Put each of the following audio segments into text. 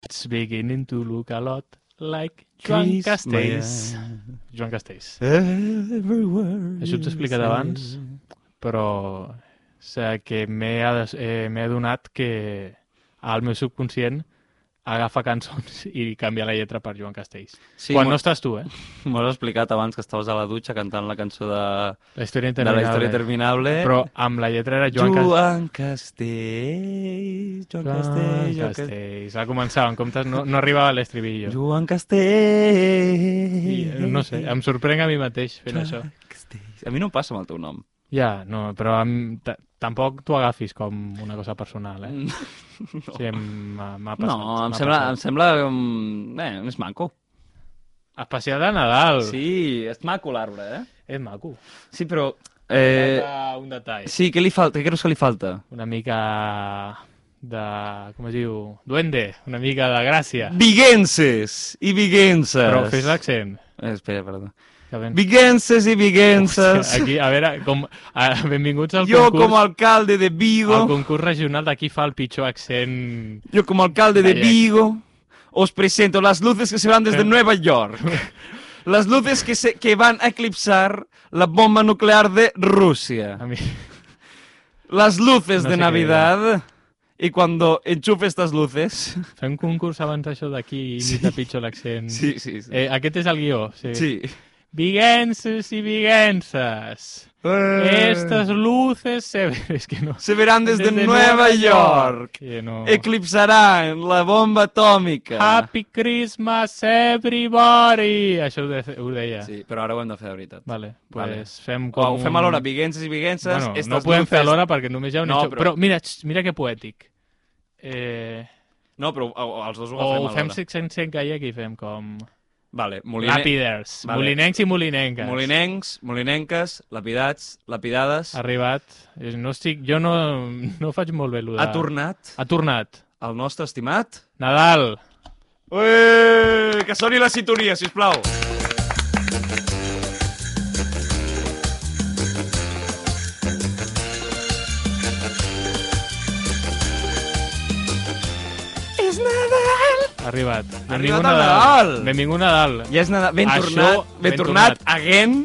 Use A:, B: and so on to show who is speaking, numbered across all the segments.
A: It's beginning to look a lot like Joan Castells. Joan Castells.
B: Everywhere.
A: Això t'ho he explicat abans, però sé que m'he ades- eh, m'he adonat que el meu subconscient agafa cançons i canvia la lletra per Joan Castells.
B: Sí,
A: Quan
B: m'ho-
A: no estàs tu, eh?
B: M'ho has explicat abans que estaves a la dutxa cantant la cançó de,
A: La història
B: de la
A: interminable.
B: història interminable.
A: Però amb la lletra era Joan,
B: Joan,
A: Cas-
B: Castells, Joan
A: Joan
B: Castells, Joan Castells.
A: Castells. Va començar, en comptes, no, no arribava a l'estribillo.
B: Joan Castells.
A: I, eh, no sé, em sorprenc a mi mateix fent
B: Joan
A: això.
B: Castells. A mi no em passa amb el teu nom.
A: Ja, no, però em- ta- tampoc t'ho agafis com una cosa personal, eh?
B: No,
A: Sí, em- m'ha m'ha passat.
B: no em,
A: m'ha
B: sembla,
A: passat.
B: em sembla... mm, Eh, és maco.
A: Especial de Nadal.
B: Sí, és maco l'arbre, eh?
A: És maco.
B: Sí, però... Eh,
A: Falta un detall.
B: sí, què li falta? Què creus que li falta?
A: Una mica de... com es diu? Duende. Una mica de gràcia.
B: Viguenses i viguenses.
A: Però fes l'accent.
B: Eh, espera, perdó.
A: Que ben...
B: Viguenses i viguenses.
A: Aquí, a veure, com... A, benvinguts al
B: Jo
A: concurs.
B: com a alcalde de Vigo,
A: El concurs regional de qui fa el pitjor accent...
B: yo como alcalde de
A: Ay, Eh. ay.
B: Vigo, os presento las luces que se van desde Nueva York. Las luces que, se, que van a eclipsar la bomba nuclear de
A: A
B: Rusia.
A: mi...
B: Las luces
A: No
B: de
A: sé qué
B: Navidad. Y cuando enchufe estas luces...
A: Fem concurs abans d'això de qui imita pitjor l'accent.
B: Sí, sí, sí.
A: Eh, aquest és el guió. Sí.
B: sí.
A: Viguenses y viguenses.
B: Eh.
A: Estas luces se... Es que no...
B: Se verán desde, Nueva York.
A: Que no...
B: Eclipsarán la bomba atómica.
A: Happy Christmas, everybody! Ah, Això ho, de, ho deia.
B: Sí, però ara ho hem de fer de veritat.
A: Vale,
B: Vale.
A: pues fem com...
B: Com... Ho fem
A: un-
B: alhora, viguenses i viguenses.
A: Bueno,
B: estas
A: no podem
B: luces-
A: fer alhora perquè només hi ha un
B: No,
A: hecho.
B: però-
A: Però... mira, xxt, mira que poètic. Eh...
B: No, però o, o, els dos ho
A: O
B: agafem
A: ho fem
B: alhora.
A: sense en gallec i fem com...
B: Vale, moliner...
A: Làpiders.
B: Vale.
A: Molinencs i molinenques.
B: Molinencs, molinenques, lapidats, lapidades. Ha,
A: Arribat. Eh, No estic... Jo no, no faig molt bé l'ho de...
B: ha tornat
A: Ha tornat.
B: el nostre estimat...
A: Nadal.
B: Ué, que soni la sintonia, sisplau. És Nadal!
A: Ha arribat. Benvingut
B: arribat el Nadal.
A: Benvingut Nadal.
B: Ja és Nadal. Ben
A: Això,
B: tornat, ben,
A: ben
B: tornat,
A: tornat.
B: again.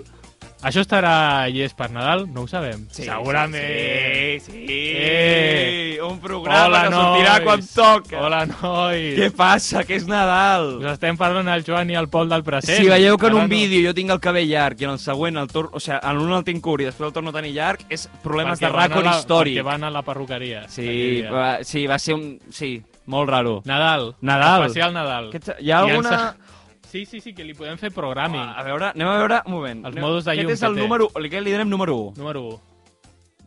A: Això estarà llest per Nadal? No ho sabem. Segurament.
B: Sí, sí.
A: Sí.
B: Un programa Hola, que sortirà
A: nois.
B: quan toca.
A: Hola, nois.
B: Què passa, que és Nadal?
A: Us estem parlant al Joan i al Pol del present.
B: Si veieu que en
A: Ara
B: un
A: no.
B: vídeo jo tinc el cabell llarg i en el següent el torn... O sigui, en un el tinc curt i després el torno a tenir llarg, és problemes
A: Perquè
B: de
A: van a
B: ràcord
A: la-
B: històric.
A: Perquè van a la perruqueria.
B: Sí,
A: aquell dia.
B: va, sí, va ser un... Sí, molt raro.
A: Nadal.
B: Nadal.
A: Especial Nadal.
B: Aquest, hi ha
A: I ens-
B: alguna...
A: Sí, sí, sí, que li podem fer programming.
B: A veure, anem a veure... Un moment.
A: Els modos de llum
B: Aquest és
A: que
B: el
A: té.
B: número... Aquest li donem número 1.
A: Número 1.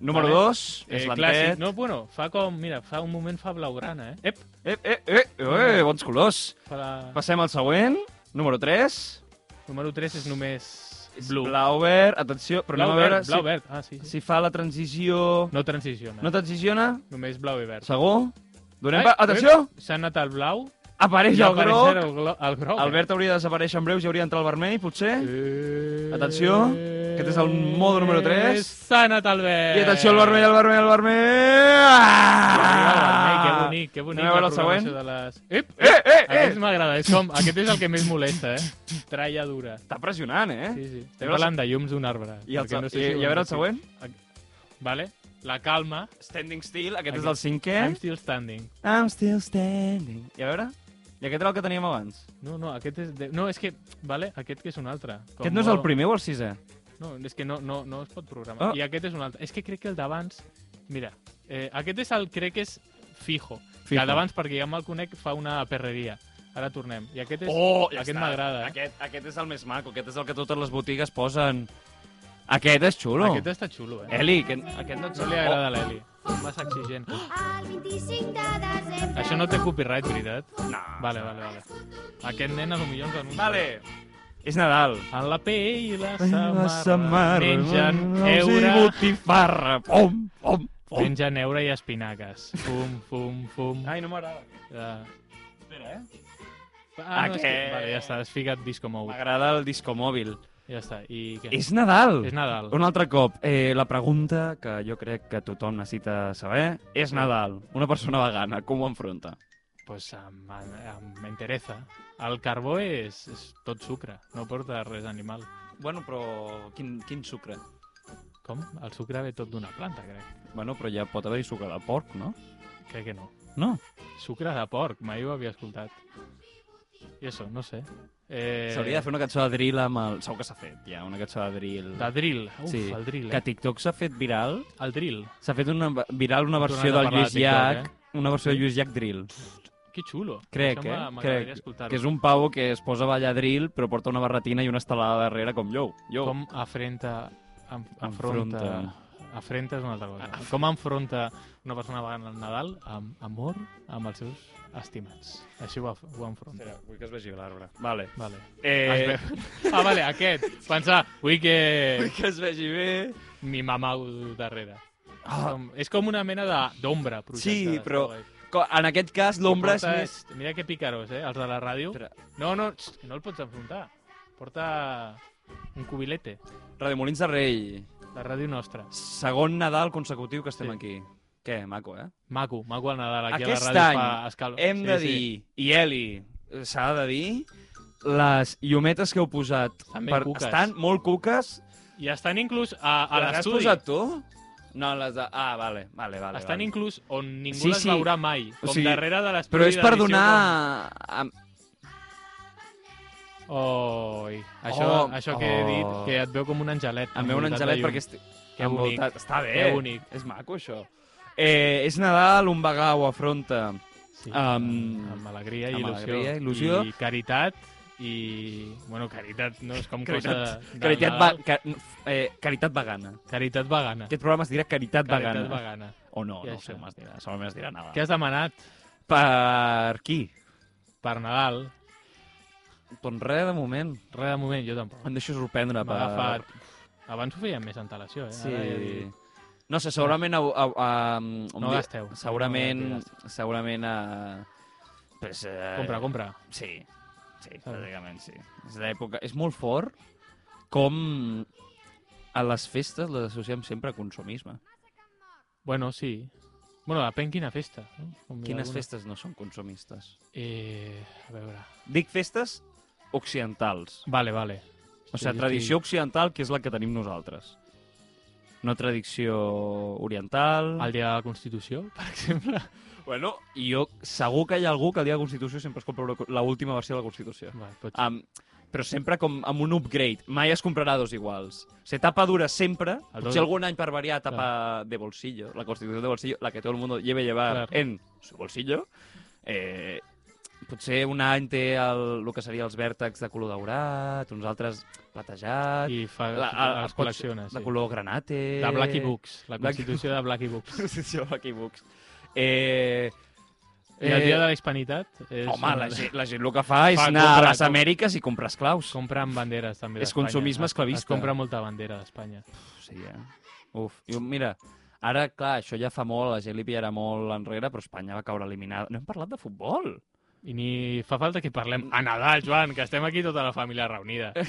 B: Número
A: Vale.
B: 2
A: Eh,
B: és
A: clàssic.
B: l'antet.
A: No, bueno, fa com... Mira, fa un moment fa blaugrana, eh? Ep!
B: Eh, eh, eh, eh, bons colors.
A: Fa la...
B: Passem al següent. Número 3.
A: Número 3 és només
B: Blau.
A: blu.
B: Blau verd. Atenció, però
A: blau
B: anem a veure
A: verd, blau verd. Ah, sí,
B: si,
A: sí.
B: si fa la transició...
A: No transiciona.
B: No transiciona?
A: Només blau i verd.
B: Segur? Donem...
A: Ai,
B: pa... Atenció!
A: ep, S'ha anat al blau.
B: Apareix
A: ja
B: el groc.
A: apareixerà El, glo- el groc.
B: El verd hauria de desaparèixer en breu, ja hauria d'entrar el vermell, potser.
A: Eh...
B: Atenció, aquest és el modo número tres.
A: S'ha anat al verd.
B: I atenció, el vermell, el vermell, el vermell!
A: Ah!
B: Ah!
A: Que bonic, que bonic
B: Anem a veure
A: la
B: el següent.
A: programació de les... Ep,
B: Eh, eh, eh!
A: Aquest m'agrada, és com... Aquest és el que més molesta, eh? Tralla dura.
B: Està pressionant, eh?
A: Sí, sí.
B: Anem
A: Estem
B: a la-
A: parlant de llums d'un arbre.
B: I, el,
A: perquè
B: no
A: sé si
B: i,
A: ho
B: i a
A: hem
B: veure el
A: sentit.
B: següent.
A: Vale. La calma.
B: Standing still, aquest
A: Aquest.
B: és el cinquè.
A: I'm still standing.
B: I'm still standing. I a veure? I aquest era el que teníem abans.
A: No, no, aquest és... De... No, és que... Vale, aquest que és un altre. Com
B: Aquest no és el
A: bo-
B: primer o el sisè?
A: No, és que no, no, no es pot programar.
B: Ah.
A: I aquest és un altre. És que crec que el d'abans... Mira, eh, aquest és el... Crec que és fijo.
B: Fijo.
A: fijo. El d'abans, perquè ja me'l conec, fa una perreria. Ara tornem. I aquest és...
B: Oh,
A: aquest m'agrada, eh?
B: Aquest, aquest és el més maco, aquest és el que totes les botigues posen. Aquest és xulo.
A: Aquest està xulo, eh?
B: Eli, aquest, aquest no et
A: No li agrada a l'Eli. Massa exigent.
C: El 25 de desembre...
A: Això no té copyright, veritat?
B: No.
A: Vale, vale, vale. Aquest nen a lo millor ens anuncia.
B: Ah, Vale. És Nadal.
A: En la pell i la
B: La
A: samarra,
B: samarra,
A: mengen
B: no,
A: eura,
B: sí, botifarra. Pom, pom, pom.
A: mengen eura i espinaques. Fum, fum, fum.
B: Oh. Ai, no m'agrada.
A: Ah,
B: Espera, eh?
A: ah, no, és que...
B: Aquest.
A: Vale, ja està, has ficat disco mode.
B: M'agrada el disco mòbil.
A: Ja està, i què?
B: És Nadal.
A: És Nadal.
B: Un altre cop, eh, la pregunta que jo crec que tothom necessita saber és Nadal. Una persona vegana, com ho enfronta?
A: pues, amb, amb, amb m'entereza. El carbó és, és tot sucre, no porta res animal.
B: Bueno, però quin, quin sucre?
A: Com? El sucre ve tot d'una planta, crec.
B: Bueno, però ja pot haver sucre de porc, no?
A: Crec que no.
B: No.
A: Sucre de porc, mai ho havia escoltat. I això, no sé. Eh,
B: S'hauria de fer una cançó de drill amb el... Segur que s'ha fet, ja, una cançó de drill.
A: De drill. Uf,
B: Sí,
A: el drill,
B: Que
A: eh?
B: a TikTok s'ha fet viral.
A: El drill.
B: S'ha fet una viral una versió
A: Tornant a
B: del
A: parlar de
B: Lluís
A: TikTok, eh?
B: Llach, una versió de Lluís Llach drill.
A: Que xulo.
B: Crec,
A: Això
B: eh?
A: m'a- M'agradaria
B: Crec
A: escoltar-ho.
B: que és un pavo que es posa a ballar drill, però porta una barretina i una estelada darrere com jo. jo.
A: Com afrenta... Am, afronta...
B: Enfronta.
A: Afrenta és una altra cosa. Com enfronta una persona vegana al Nadal amb amor amb els seus estimats. Així ho, af- ho enfronta.
B: Espera, vull que es vegi l'arbre. Vale.
A: Vale.
B: Eh...
A: Es veu- Ah, vale, aquest. Pensar, ui, que
B: Vull que es vegi bé.
A: mi mamà ho du darrere.
B: Ah.
A: Com, és com una mena de- d'ombra projectada.
B: Sí, però
A: està guai.
B: Co- En aquest cas, l'ombra és
A: Porta-
B: més...
A: Mira que picaros, eh, els de la ràdio.
B: Espera.
A: No, no, xt, no el pots enfrontar. Porta un cubilete.
B: Radio Molins de Rei,
A: La ràdio nostra.
B: segon Nadal consecutiu que estem
A: Sí.
B: aquí. Què, maco, eh?
A: Maco, maco el Nadal. Aquí
B: Aquest
A: a la
B: any
A: ràdio fa escaló.
B: Hem de dir, i Eli, eh, s'ha de dir, les llumetes que heu posat
A: Estan ben cuques.
B: estan molt cuques.
A: Sí. I estan inclús a, a
B: les has
A: l'estudi.
B: posat tu? No, les de... Ah, vale, vale, vale.
A: Estan
B: vale.
A: inclús on ningú
B: Sí,
A: les
B: sí.
A: veurà mai. Com
B: sigui,
A: darrere de l'estudi.
B: Però és per
A: d'edició,
B: donar... Com...
A: Com... Oi. Això,
B: Oh,
A: això que he dit,
B: oh.
A: que et veu com un angelet.
B: Em veu un
A: envoltat de
B: angelet
A: llum.
B: perquè... Esti...
A: Que bonic.
B: envoltat- Està bé.
A: Que bonic.
B: És maco, això. Eh, és Nadal, un vegà ho afronta.
A: Sí,
B: Amb-
A: amb, amb alegria i
B: amb
A: il·lusió.
B: alegria, il·lusió.
A: I caritat i... Bueno, caritat no és com cosa...
B: Caritat,
A: de- de
B: caritat, va,
A: Nadal.
B: ca, no, f- eh, caritat vegana.
A: Caritat vegana.
B: Aquest programa es dirà Caritat,
A: Caritat
B: vegana.
A: vegana.
B: O no,
A: I
B: no ho
A: això.
B: sé com es dirà. Solament es dirà Nadal.
A: Què has demanat
B: Per qui?
A: per Nadal?
B: Doncs res, de moment.
A: Res de moment, jo tampoc.
B: Em deixo
A: M'ha
B: sorprendre per...
A: agafat... Abans ho feien més antelació, eh? Ara ja
B: Sí.
A: dic,
B: No sé, segurament... A, a, a, um,
A: No gasteu.
B: Segurament...
A: No
B: segurament... A, pues, eh,
A: Compra, compra.
B: Sí, sí, bàsicament sí. És l'època... És molt fort com a les festes les associem sempre a consumisme.
A: Bueno, sí. Bueno, depèn quina festa. No? Com hi ha
B: Quines
A: alguna.
B: festes no són consumistes?
A: Eh, a veure...
B: Dic festes occidentals.
A: Vale, vale.
B: O sigui,
A: Sí,
B: tradició occidental, que és la que tenim nosaltres. No tradició oriental...
A: El dia de la Constitució, per exemple.
B: Bueno, i jo segur que hi ha algú que el dia de la Constitució sempre es compra l'última versió de la Constitució.
A: Vale, pot...
B: Um, però sempre com amb un upgrade. Mai es comprarà dos iguals. Se tapa dura sempre.
A: El
B: Potser
A: dos-
B: algun any per variar tapa de bolsillo. La Constitució de bolsillo, la que todo el mundo lleve llevar
A: Claro.
B: en su bolsillo. Eh, potser un any té el, el que seria els vèrtexs de color daurat, uns altres platejat...
A: I fa,
B: la- ah, a-
A: les
B: pot-
A: col·lecciona, sí.
B: De color granate...
A: De Blacky Books, la
B: eh, Blacky-
A: Constitució de Blacky Books.
B: Constitució de Blacky Books. Eh,
A: I el dia de la hispanitat és...
B: Home, la gent, la gent el que fa és
A: Fa,
B: anar a
A: compra,
B: les
A: compra.
B: Amèriques i comprar esclaus.
A: Compren banderes també
B: És
A: d'Espanya.
B: consumisme
A: Es-
B: esclavista.
A: Es compra molta bandera d'Espanya.
B: Sí, eh? Uf, jo, mira, ara, clar, això ja fa molt, la gent li pillarà molt enrere, però Espanya va caure eliminada. No hem parlat de futbol.
A: I ni fa falta que parlem a Nadal, Joan, que estem aquí tota la família reunida.
B: Eh,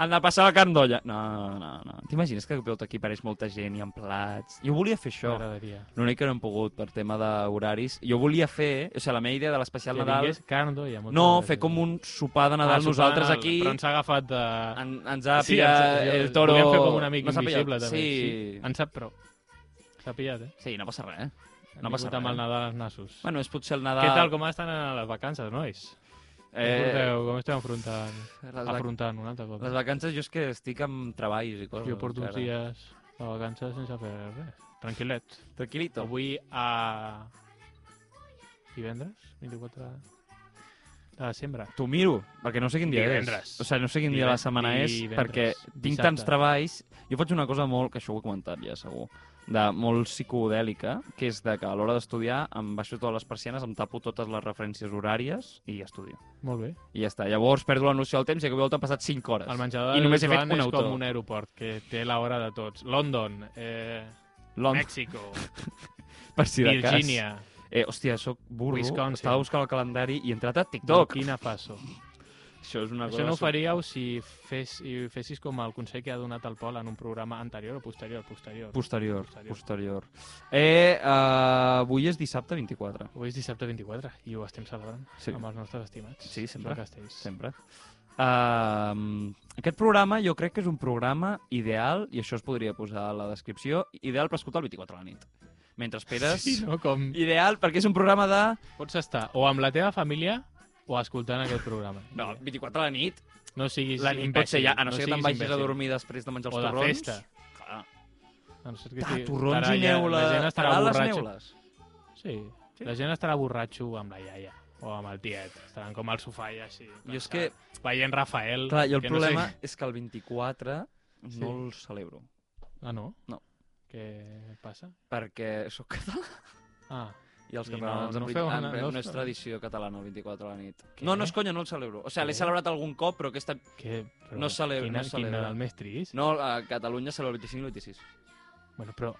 B: Han de passar la candolla. No, no, no. T'imagines que tot aquí apareix molta gent i amb plats? Jo volia fer això.
A: M'agradaria.
B: L'únic que no hem pogut per tema d'horaris. Jo volia fer, o sigui, la meva idea de
A: Que
B: l'especial Nadal...
A: vingués Cardo i a moltes
B: No,
A: gràcies.
B: fer com un sopar de Nadal
A: Ah, sopar
B: nosaltres
A: Nadal,
B: aquí.
A: Però ens ha agafat de...
B: En, ens ha
A: Sí,
B: pillat
A: ens-
B: el toro...
A: Volíem fer com un amic
B: Nos ha pillat.
A: invisible, també.
B: Sí.
A: En sap, però... S'ha pillat, eh?
B: sí, no passa res.
A: Hem
B: No passa
A: vingut amb
B: res.
A: el Nadal als nassos.
B: Bueno, és potser el
A: Què
B: Nadal... Eh,
A: tal, com estan a les vacances, nois? Com porteu- com esteu enfrontant,
B: les, vac
A: afrontant un altre cop?
B: les vacances jo és que estic amb treballs i coses.
A: Jo porto uns
B: encara.
A: dies de vacances sense fer res. Tranquil·let.
B: Tranquil·lito.
A: Avui a... Divendres? 24 de desembre.
B: T'ho miro, perquè no sé quin dia
A: Divendres.
B: és. O sigui, no sé quin dia de la
A: Diven-
B: setmana és,
A: divendres.
B: perquè tinc
A: Dissabte.
B: tants treballs. Jo faig una cosa molt, que això ho he comentat ja, segur, de molt psicodèlica, que és de que a l'hora d'estudiar em baixo totes les persianes, em tapo totes les referències horàries i estudio.
A: Molt bé.
B: I ja està. Llavors perdo la noció del temps i que volta han passat 5 hores.
A: El menjador
B: I només he
A: del
B: fet
A: Joan
B: un
A: és
B: autor.
A: com un aeroport, que té l'hora de tots. London, eh,
B: Londres,
A: Mèxico,
B: per si de cas.
A: Virgínia,
B: Eh, hòstia, sóc burro.
A: Wisconsin.
B: Estava buscant el calendari i he entrat a TikTok.
A: Burkina Faso.
B: Això és una cosa...
A: Això no ho faríeu si, fes, si fessis com el consell que ha donat el Pol en un programa anterior o posterior? Posterior.
B: Posterior,
A: Posterior.
B: posterior. Eh, uh, avui és dissabte 24,
A: Avui és dissabte 24 i ho estem celebrant
B: Sí.
A: amb els nostres estimats.
B: Sí, sempre.
A: Joan Castells.
B: sempre. Uh, aquest programa jo crec que és un programa ideal, i això es podria posar a la descripció, ideal per escoltar el 24 a la nit. Mentre esperes...
A: Sí, no? Com
B: Ideal, perquè és un programa de...
A: pots estar o amb la teva família o escoltant aquest programa.
B: No, 24 a la nit.
A: no siguis
B: La nit
A: imbècil.
B: pot ser ja, a no, ser que
A: siguis
B: te'n vagis
A: imbècil.
B: a dormir després de menjar els
A: O de
B: torrons.
A: festa.
B: Clar.
A: A no ser que
B: Ah,
A: sigui-
B: torrons
A: estarà
B: i
A: ja-
B: neules.
A: La gent estarà
B: T'agraden les
A: borratxa.
B: neules?
A: Sí.
B: Sí?
A: La gent estarà borratxo amb la iaia o amb el tiet. Estaran com al sofà i així.
B: Jo és que-
A: Veient Rafael...
B: Clar, i el
A: que
B: problema
A: No sé...
B: és que el 24
A: Sí.
B: no el celebro.
A: Ah, no?
B: No.
A: Què passa?
B: Perquè sóc català.
A: Ah,
B: I els
A: I no-
B: catalans
A: no
B: en
A: feu
B: veritat-
A: una-
B: en-
A: no
B: no és
A: feu-
B: tradició catalana el 24 a la nit.
A: Què?
B: No, no és conya, no el celebro. O sigui, l'he
A: Què?
B: celebrat algun cop, però aquesta...
A: que... Però
B: No celebra-
A: Quina,
B: no celebra.
A: Quina, el més trist?
B: No, a Catalunya celebra el 25 i el 26.
A: Bueno, però,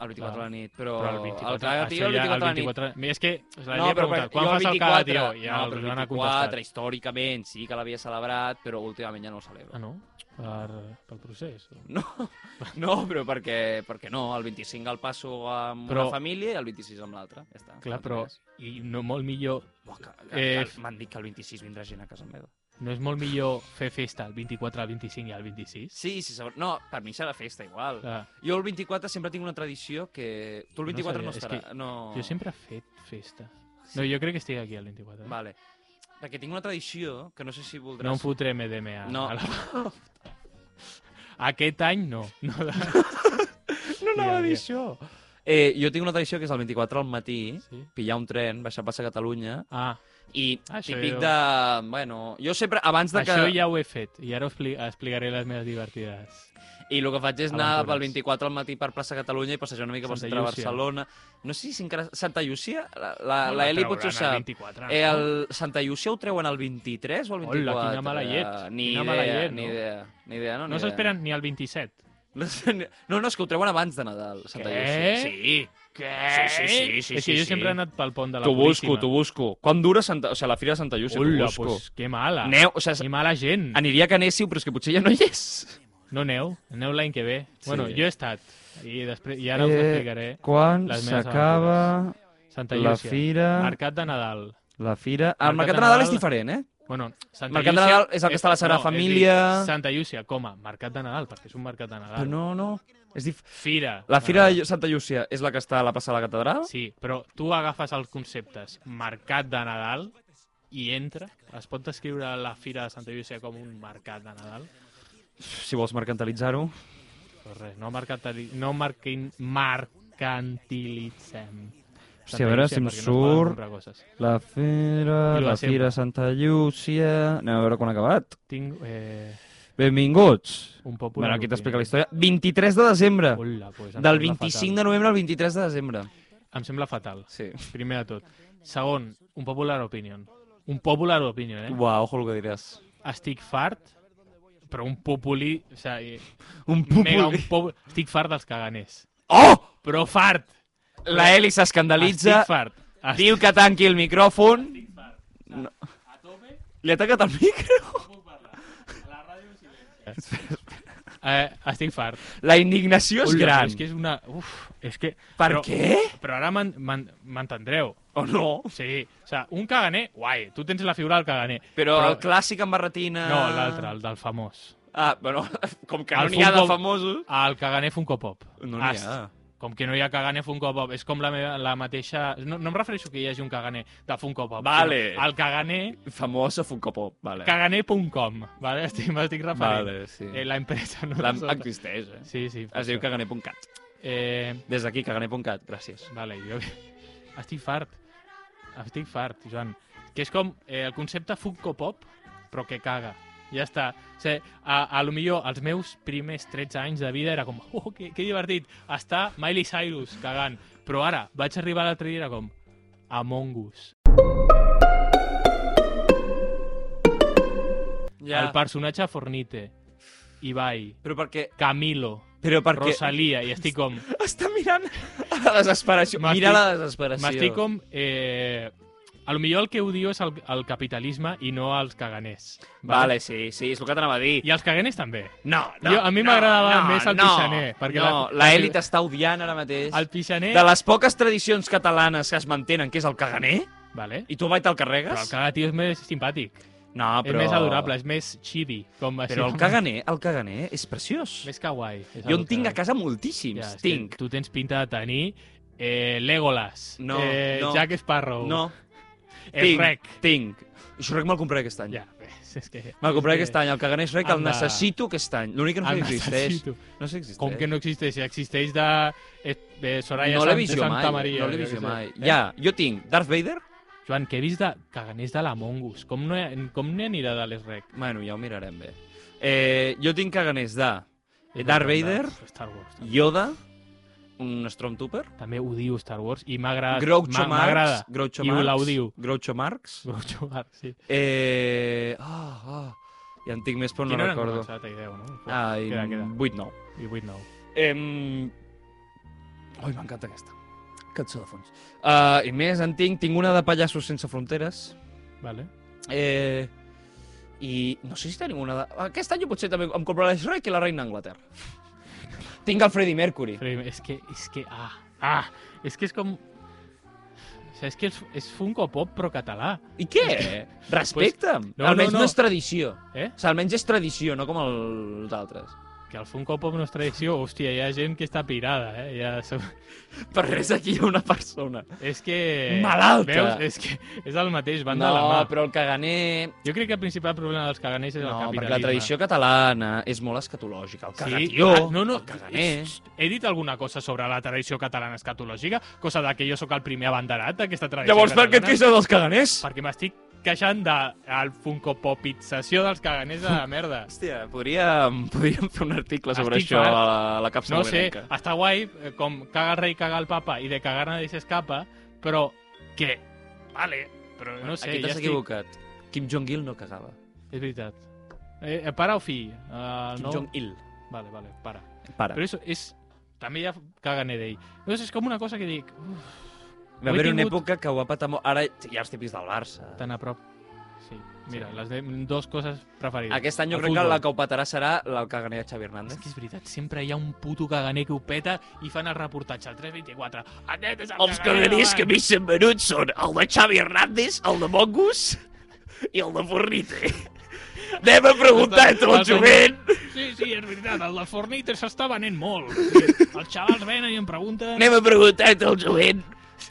B: El 24 a la
A: Clar.
B: nit, però...
A: però el 24...
B: El caga tio, el
A: això ja,
B: 24 a la
A: el
B: nit.
A: 24 Mira, és que la
B: No,
A: no, gent
B: però
A: ha
B: perquè
A: preguntat, quan
B: jo el
A: fas el cada
B: 24
A: tio? I ja
B: no,
A: els
B: però el
A: han
B: 24,
A: contestat.
B: històricament, sí que l'havia celebrat, però últimament ja no el celebro.
A: Ah, no? Per, pel procés? o?
B: No, no però perquè, perquè no, el 25 el passo amb però...
A: Però-
B: una família i el 26 amb l'altra. Ja està.
A: Clar,
B: no
A: però...
B: té res.
A: I no molt millor...
B: Buah, que, que,
A: Eh,
B: que M'han dit que el 26 vindrà gent a casa meva.
A: No és molt millor fer festa el 24, el 25 i el 26?
B: Sí, sí, segons... no, per mi serà festa igual.
A: Clar,
B: Jo el 24 sempre tinc una tradició que... Tu
A: No
B: el 24 no,
A: sabia,
B: no
A: és
B: estaràs.
A: que
B: No...
A: jo sempre he fet festa. No, jo crec que estic aquí el 24. eh?
B: Vale. Perquè tinc una tradició que no sé si voldràs...
A: No em fotré MDMA.
B: No.
A: A la... Aquest any no. no de...
B: No anava a
A: Dia, dia.
B: dir això! Eh, jo tinc una tradició que és el 24 al matí,
A: Sí.
B: pillar un tren, baixar pas a Catalunya,
A: Ah,
B: i
A: Això
B: típic
A: jo-
B: de... Bueno, jo sempre, abans de que...
A: això ja ho he fet i ara us pli- explicaré les meves divertides.
B: I el que faig és anar
A: Aventures.
B: pel 24 al matí per plaça Catalunya i passejar una mica per
A: Santa
B: centre de
A: Llúcia.
B: Barcelona. No sé si encara... Santa Llúcia? La, la, la Eli potser ho sap.
A: El 24,
B: Eh, el Santa Llúcia ho treuen el 23 o el 24?
A: Hola, quina mala llet.
B: Ni
A: Quina
B: idea,
A: mala llet,
B: ni
A: no?
B: idea. Ni idea,
A: No,
B: no? ni
A: no
B: idea.
A: s'esperen ni el 27.
B: No, sé- no, no, és que ho treuen abans de Nadal, Santa
A: Què?
B: Llúcia. Sí.
A: Què?
B: Sí, sí, sí, sí,
A: És que
B: sí,
A: jo
B: sí.
A: sempre he anat pel pont de la
B: T'ho busco,
A: Puríssima.
B: t'ho busco. Quan dura Santa... O sigui, la Fira de Santa Llúcia, t'ho
A: Hola,
B: busco.
A: pues, que mala.
B: Neu, o sigui,
A: Que mala gent.
B: aniria que anéssiu, però és que potser ja no hi és.
A: No aneu, aneu l'any que ve.
B: Sí. Eh,
A: Bueno, jo he estat. I, després, I ara us explicaré.
B: quan
A: les meves s'acaba Santa Llúcia. Mercat de Nadal.
B: la fira...
A: El Mercat Mercat de de Nadal Nadal- és
B: diferent, eh?
A: Bueno, Santa
B: Mercat de
A: Llúcia...
B: Nadal és el que està a la Sagrada
A: no, és dir,
B: Família.
A: Santa Llúcia, coma, mercat de Nadal, perquè és un mercat de Nadal.
B: no, no. És dif...
A: Fira.
B: La
A: de
B: fira
A: Nadal.
B: de Santa Llúcia és la que està a la plaça de la catedral?
A: Sí, però tu agafes els conceptes mercat de Nadal i entra. Es pot descriure la fira de Santa Llúcia com un mercat de Nadal?
B: Si vols mercantilitzar-ho.
A: Doncs res, no, mercantili... no marquin... mercantilitzem.
B: Hòstia, a veure si em
A: perquè no es poden
B: surt.
A: comprar coses.
B: La fira,
A: I la
B: la
A: sempre.
B: fira Santa Llúcia... Anem a veure quan ha acabat.
A: Tinc eh,
B: Benvinguts.
A: un popular...
B: Bueno, aquí t'explica la història. 23 de desembre.
A: Hola, pues, em
B: Del
A: sembla
B: 25 de
A: fatal.
B: novembre al 23 de desembre.
A: Em sembla fatal,
B: Sí.
A: primer de tot. Segon, un popular opinion. Un popular opinion, eh?
B: Uau, ojo el que diràs.
A: Estic fart, però un populi... O sigui,
B: Un
A: mega
B: popul...
A: un poble... Estic fart dels caganers.
B: Oh!
A: Però fart!
B: La Eli s'escandalitza,
A: Estic fart. Estic...
B: diu que tanqui el micròfon... No. Li ha tancat el micro?
A: Eh, estic fart.
B: La indignació és
A: Ui,
B: gran.
A: És que és una... Uf, és que...
B: Per
A: però,
B: què?
A: Però ara m'en- m'en- m'entendreu.
B: O no?
A: Sí, o sigui, un caganer, guai, tu tens la figura del caganer.
B: Però el clàssic amb barretina...
A: No, l'altre, el del famós.
B: Ah, bueno, com que no
A: El
B: n'hi ha de
A: futbol- Ah,
B: famosos...
A: El caganer Funko Pop.
B: No n'hi
A: Ast-
B: ha.
A: Com que no hi ha caganer Funko Pop, és com la, meva, la mateixa... No, no em refereixo que hi hagi un caganer de Funko Pop.
B: Vale.
A: sinó El caganer...
B: Famós a Funko Pop, vale.
A: Caganer.com, vale? Estic, m'estic referint.
B: Vale, sí.
A: Eh, la empresa, no?
B: La...
A: Nosaltres.
B: Existeix, eh?
A: Sí, sí. per
B: Es diu
A: això.
B: caganer.cat.
A: Eh,
B: Des d'aquí, caganer.cat, gràcies.
A: vale, jo... Estic fart. Estic fart, Joan. Que és com eh, el concepte Funko Pop, però que caga. Ja està. O sigui, a, a lo millor els meus primers 13 anys de vida era com, oh, que, que divertit, està Miley Cyrus cagant. Però ara vaig arribar l'altre dia i era com, Among Us. El personatge Fornite, Ibai,
B: Però perquè...
A: Camilo,
B: Però perquè...
A: Rosalia, i estic com...
B: Està mirant a la desesperació.
A: M'estic-
B: Mira la desesperació.
A: M'estic com eh, A lo millor el que odio és el, el capitalisme i no els caganers.
B: Vale, sí, sí, és el que t'anava a dir.
A: I els caganers també.
B: No, no,
A: Jo- a mi
B: no,
A: m'agradava
B: no,
A: més el
B: no,
A: pixaner, perquè
B: no,
A: la-
B: la elit està odiant ara mateix.
A: El pixaner...
B: De les poques tradicions catalanes que es mantenen, que és el caganer,
A: Vale.
B: i tu mai te'l
A: Però el
B: carregues?
A: cagar, tio, és més simpàtic.
B: No, però...
A: És més adorable, és més chibi. Com així,
B: Però el
A: com-
B: caganer, el caganer és preciós.
A: Més kawaii. és
B: Jo
A: el
B: en tinc a
A: que-
B: casa moltíssims,
A: és que
B: tinc.
A: Tu tens pinta de tenir eh, Legolas,
B: No,
A: eh,
B: no.
A: Jack Sparrow,
B: No,
A: el
B: tinc,
A: Rec.
B: tinc. Shrek me'l compraré aquest any.
A: Ja, és, és que...
B: Me'l compraré
A: és
B: aquest any, el caganer Shrek el
A: Anda.
B: necessito aquest any. L'únic que no
A: el
B: sé si existeix.
A: necessito.
B: No sé si existeix.
A: Com que no existeix? Existeix de, eh, de Soraya
B: no l'he
A: Sant, de
B: vist jo
A: Santa
B: mai,
A: Maria.
B: no l'he
A: jo
B: vist
A: què
B: jo
A: sé. Eh?
B: mai. Ja, jo tinc Darth Vader,
A: Joan, que he vist de caganers de la Mongus. Com no, he- com no anirà de les rec?
B: bueno, ja ho mirarem bé. Eh, jo tinc caganers de Darth Vader,
A: Star Wars. també.
B: Yoda, un Stormtrooper,
A: També odio Star Wars i m'agrada.
B: Groucho
A: m'a- Ah,
B: Marx,
A: M'agrada.
B: Groucho
A: I
B: Marx,
A: l'audio.
B: Groucho Marx,
A: Groucho Marx, sí.
B: eh... Ah, ah, ja en tinc més però no
A: Quina hora hem
B: recordo. mm.
A: començat? Ai, 10, no?
B: Ai,
A: Queda, queda.
B: 8-9.
A: I 8, 9.
B: Em... Ui, m'encanta aquesta. Cançó de fons. Uh, I més, en tinc, tinc una de Pallassos sense fronteres,
A: Vale.
B: Eh, I no sé si tenim una... De... Aquest any jo potser també em compraré Shrek i la reina d'Anglaterra. Tinc el Freddie Mercury.
A: Però és que, és que, ah, ah, és que és com... O sigui, és que és, és Funko Pop però català,
B: I què? Respecta'm.
A: no,
B: No, almenys
A: no,
B: no,
A: no.
B: és tradició.
A: eh?
B: O sigui, almenys és tradició, no com els altres.
A: Que el Funko Pop no és tradició, hòstia, hi ha gent que està pirada, eh? Ja, sou-
B: Per res aquí hi ha una persona.
A: és que...
B: Malalta!
A: Veus? És que és el mateix, van
B: no,
A: de la mà.
B: però el caganer...
A: Jo crec que el principal problema dels caganers és el
B: No,
A: capitalisme.
B: perquè la tradició catalana és molt escatològica. El cagatió,
A: ah, no, no,
B: el caganer...
A: xt, xt, He dit alguna cosa sobre la tradició catalana escatològica? Cosa de que jo sóc el primer abanderat d'aquesta tradició
B: Llavors, per
A: catalana?
B: què et queixes dels caganers?
A: Perquè m'estic queixant de el Funko Popització dels caganers de la merda.
B: Hòstia, podríem, podríem fer un article sobre
A: Estic
B: això
A: fart.
B: a la, a la capsa
A: No sé,
B: novel·lenca.
A: està guai, eh, com caga el rei, caga el papa, i de cagar nadie se escapa, però que... Vale, però no sé,
B: Aquí
A: ja
B: t'has
A: estic...
B: equivocat. Kim Jong-il no cagava.
A: És veritat. Eh, eh, para o fill? Uh,
B: Kim
A: no?
B: Jong-il.
A: Vale, vale, para.
B: Ah, Para.
A: Però això és... També ja caganer d'ell. Llavors és com una cosa que dic... "Mm, Uf,
B: Va
A: ho he
B: haver una
A: tingut-
B: època que ho va patar molt. Ara hi ha els típics del Barça.
A: Tan a prop. Sí, mira,
B: Sí.
A: les de... dos coses preferides.
B: Aquest any jo
A: El
B: crec que
A: futbol.
B: la que ho patarà serà la que ganaria Xavi
A: És
B: Hernández.
A: que és veritat, sempre hi ha un puto caganer que ho peta i fan el reportatge al 324. Aquest és el
D: Els caganers que més s'han venut són el de Xavi Hernández, el de Mongus i el de Fornite. Anem a preguntar entre el jovent.
A: Sí, sí, és veritat, el de Fornite s'està venent molt. Sí, els xavals venen i em pregunten...
D: Anem a preguntar entre el jovent.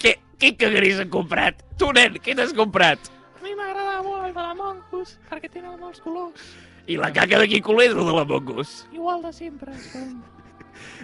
D: Què, què caganers han comprat? Tu, nen, què t'has comprat?
A: A mi m'agrada molt el de la Mongus, perquè tenen molts colors,
D: I la caca de Quico Ledro de la Mongus.
A: igual de sempre.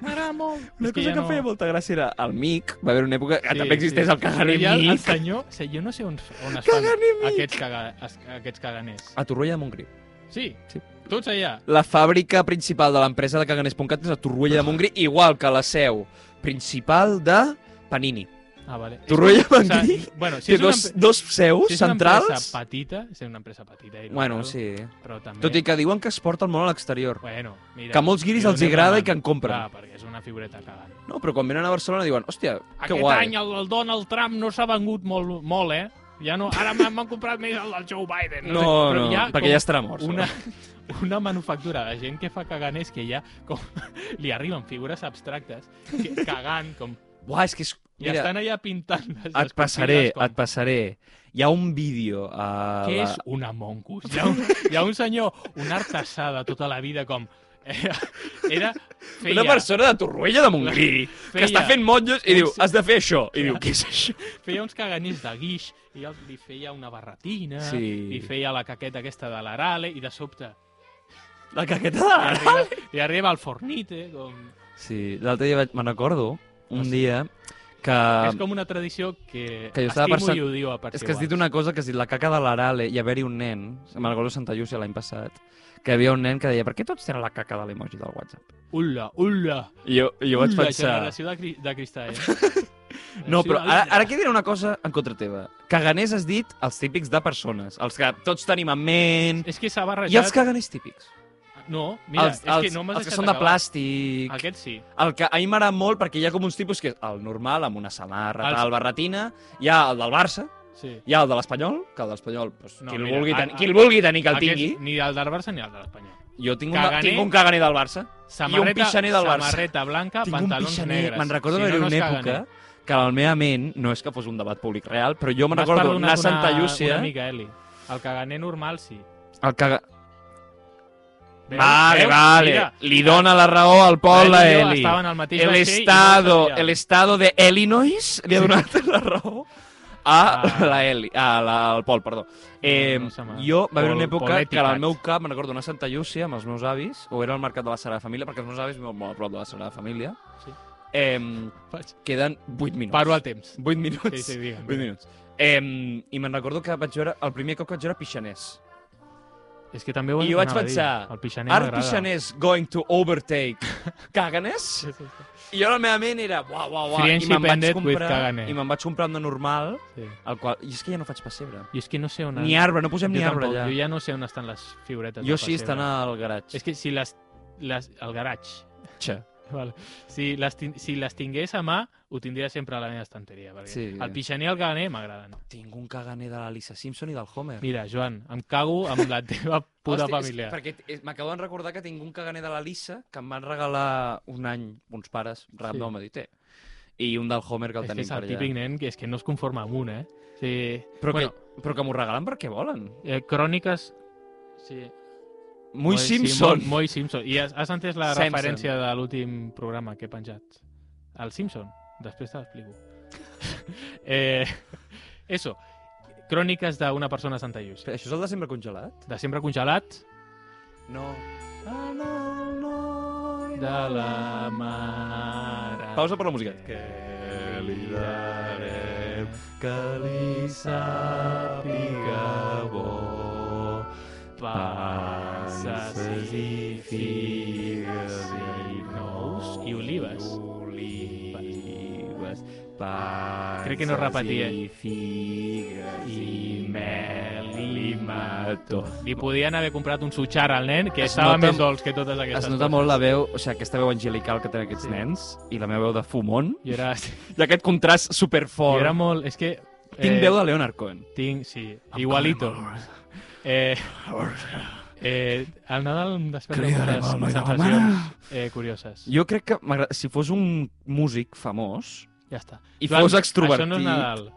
A: M'agrada molt.
B: Una cosa que em feia molta gràcia era el Mic. Va haver una època que
A: Sí,
B: també existeix
A: sí.
B: el caganer
A: Però hi ha El
B: Mic.
A: senyor, o sigui, jo no sé on, on es fan
B: Caganer Mic.
A: aquests, caga, es- aquests caganers.
B: A Torroella de Montgrí.
A: Sí,
B: Sí.
A: tots allà.
B: La fàbrica principal de l'empresa de caganers.cat és a Torroella de Montgrí, igual que la seu principal de Panini.
A: Ah, vale.
B: Torroella de
A: O
B: Montgrí
A: sigui, bueno, si
B: té
A: és una,
B: dos,
A: empre-
B: dos seus
A: si és una empresa
B: centrals.
A: petita, és una empresa petita. I no
B: Bueno,
A: cal,
B: sí.
A: Però també...
B: Tot i que diuen que es porta el món a l'exterior.
A: Bueno, mira,
B: Que a molts guiris
A: li
B: els hi
A: donem la
B: agrada
A: mà.
B: i que en compren.
A: Clar, perquè és una figureta cagant.
B: No, però quan venen a Barcelona diuen, hòstia, que
A: Aquest
B: guai.
A: any el del Donald Trump no s'ha vengut molt, molt eh? Ja no, ara m'han m'han comprat més el del Joe Biden.
B: No,
A: sé,
B: no,
A: però hi ha
B: perquè
A: com
B: ja estarà mort.
A: Una, una manufactura de gent que fa caganers que ja com, li arriben figures abstractes que, cagant, com...
B: Uah, és que és...
A: I
B: Mira,
A: estan allà pintant les
B: et passaré,
A: esculpides com,
B: et passaré. Hi ha un vídeo a...
A: Què
B: la...
A: és una mongus? Hi ha un, hi ha un senyor, un artesà de tota la vida, com... Era, era feia,
B: Una persona de Torroella de Montgrí que
A: feia-
B: està fent motllos
A: un
B: i diu,
A: se-
B: has de fer això. I diu, què és això?
A: feia uns caganers de guix i els, li feia una barretina,
B: Sí.
A: li feia la caqueta aquesta de l'Arale i de sobte
B: La caqueta de
A: li
B: la...
A: arriba, li arriba el fornite, com...
B: Sí, l'altre dia vaig... me'n recordo, un
A: No sé.
B: dia, que...
A: Ah, és com una tradició que,
B: Ah. que jo estava
A: estimo
B: pensant-
A: i odio a partir
B: És que has dit una cosa que has dit la caca de l'Arale i haver-hi un nen, me'n recordo a Santa Llúcia l'any passat, que hi havia un nen que deia, per què tots tenen la caca de l'emoji del WhatsApp?
A: Ulla, ulla,
B: I jo, i jo vaig
A: ulla,
B: pensar...
A: generació de, cri, de cristall.
B: No,
A: Generació
B: però ara,
A: d'ulla.
B: ara aquí diré una cosa en contra teva. Caganers has dit els típics de persones, els que tots tenim en ment...
A: És que s'ha barrejat...
B: I els caganers típics.
A: No, mira,
B: els,
A: és
B: els,
A: que no m'has
B: els que
A: deixat
B: són de
A: acabar.
B: plàstic... Aquest...
A: Aquest sí.
B: El que a mi m'agrada molt perquè hi ha com uns tipus que és el normal, amb una samarra,
A: Els-
B: tal, barretina, hi ha el del Barça,
A: Sí.
B: Hi ha el de l'Espanyol, que el de l'Espanyol, doncs,
A: No,
B: qui, el
A: mira,
B: vulgui
A: a-
B: tenir,
A: a-
B: qui el vulgui tenir, que el
A: Aquest,
B: tingui.
A: Ni el del Barça ni el de l'Espanyol.
B: Jo tinc un,
A: Caganer-
B: tinc un caganer del Barça.
A: Samarreta,
B: pixaner del Barça.
A: samarreta blanca,
B: tinc un
A: Ah, pantalons
B: pixaner.
A: negres.
B: Me'n recordo
A: si
B: d'haver-hi
A: no, eh? no
B: una
A: és
B: època
A: caganer.
B: que a la meva ment, no és que fos un debat públic real, però jo me'n
A: M'has
B: recordo
A: perdonat
B: anar a Santa
A: una-
B: Llúcia...
A: Una mica, Eli. El caganer normal, sí.
B: El caga...
A: Veus?
B: Vale,
A: Veus?
B: vale.
A: Mira,
B: Li dona la raó al Pol
A: Eli
B: a
A: i jo
B: Eli.
A: Estaven al mateix vaixell
B: El
A: i no ho
B: estado,
A: sabia.
B: el estado de Illinois li ha donat la raó a
A: Ah.
B: la Eli, a la, al Pol, perdó. Eh,
A: no se m'ha-
B: jo va haver
A: Pol-
B: una època
A: Polèticat.
B: que al meu cap, me'n recordo, anar a Santa Llúcia amb els meus avis, o era al mercat de la Sagrada Família, perquè els meus avis viuen molt a prop de la Sagrada Família,
A: Sí.
B: eh,
A: Vaig-
B: queden 8 minuts.
A: Paro el temps.
B: 8 minuts.
A: Sí, sí, digue'm.
B: 8 minuts. Eh, I me'n recordo que vaig veure, el primer cop que vaig veure Pixaners.
A: És que també ho
B: I jo vaig
A: anava a dir.
B: pensar,
A: El pixaner
B: Art
A: m'agrada.
B: Pixaners going to overtake Caganes?
A: Sí, sí, sí.
B: I jo la meva ment era, uau, uau, uau, i
A: Friendship
B: me'n vaig
A: ended with
B: comprar,
A: Kagane.
B: i me'n vaig comprar un de normal,
A: Sí.
B: el qual, i és que ja no faig pessebre.
A: Jo és que no sé on...
B: Ni arbre, no
A: jo
B: posem ni arbre
A: tampoc,
B: allà.
A: Jo ja no sé on estan les figuretes.
B: Jo
A: del
B: sí, estan
A: pessebre.
B: al garatge.
A: És que si les... les el garatge.
B: Che.
A: Vale. Si, les tin... si les tingués a mà, ho tindria sempre a la meva estanteria. Perquè
B: Sí.
A: El pixaner i el caganer m'agraden.
B: Tinc un caganer de l'Alisa Simpson i del Homer.
A: Mira, Joan, em cago amb la teva puta
B: Hòstia, és-
A: família.
B: Perquè t- és- m'acabo de recordar que tinc un caganer de l'Alisa que em van regalar un any uns pares, random, sí. a dir, té. I un del Homer que el
A: és que
B: tenim
A: és
B: per
A: el
B: allà.
A: típic nen que és que no es conforma amb un, eh? Sí.
B: Però,
A: bueno,
B: que, però que m'ho regalen perquè volen.
A: eh, cròniques... Sí.
B: Muy
A: sí,
B: Simpson.
A: Muy, muy Simpson. I has, has entès la
B: Simpson.
A: referència de l'últim programa que he penjat? El Simpson. Després te l'explico. eh, eso. Cròniques d'una persona a Santa Lluís.
B: Espera, Això és el desembre congelat?
A: De sempre congelat,
B: No.
A: de la mare.
B: Pausa per la música.
A: Que li darem, que li sàpiga bo, passes i figues i nous i olives.
B: Olives, passes
A: Crec que no repetia.
B: i figues
A: I mel i mató. Li podien haver comprat un sutxar al nen que
B: Es
A: estava
B: nota-
A: més dolç que totes aquestes
B: Es nota
A: coses.
B: molt la veu, o sigui, aquesta veu angelical que tenen aquests
A: Sí.
B: sí. nens i la meva veu de fumon
A: Jo era,
B: i aquest contrast
A: jo
B: superfort.
A: era molt... És que... eh,
B: Tinc veu de Leonard Cohen.
A: Tinc, sí, igualito. Eh, eh, el Nadal em desperta
B: Cridarem al noi
A: moltes
B: de la
A: sensacions eh, curioses.
B: Jo crec que m'agrada- si fos un músic famós
A: Ja està.
B: i fos extrovertit,
A: Això no és Nadal.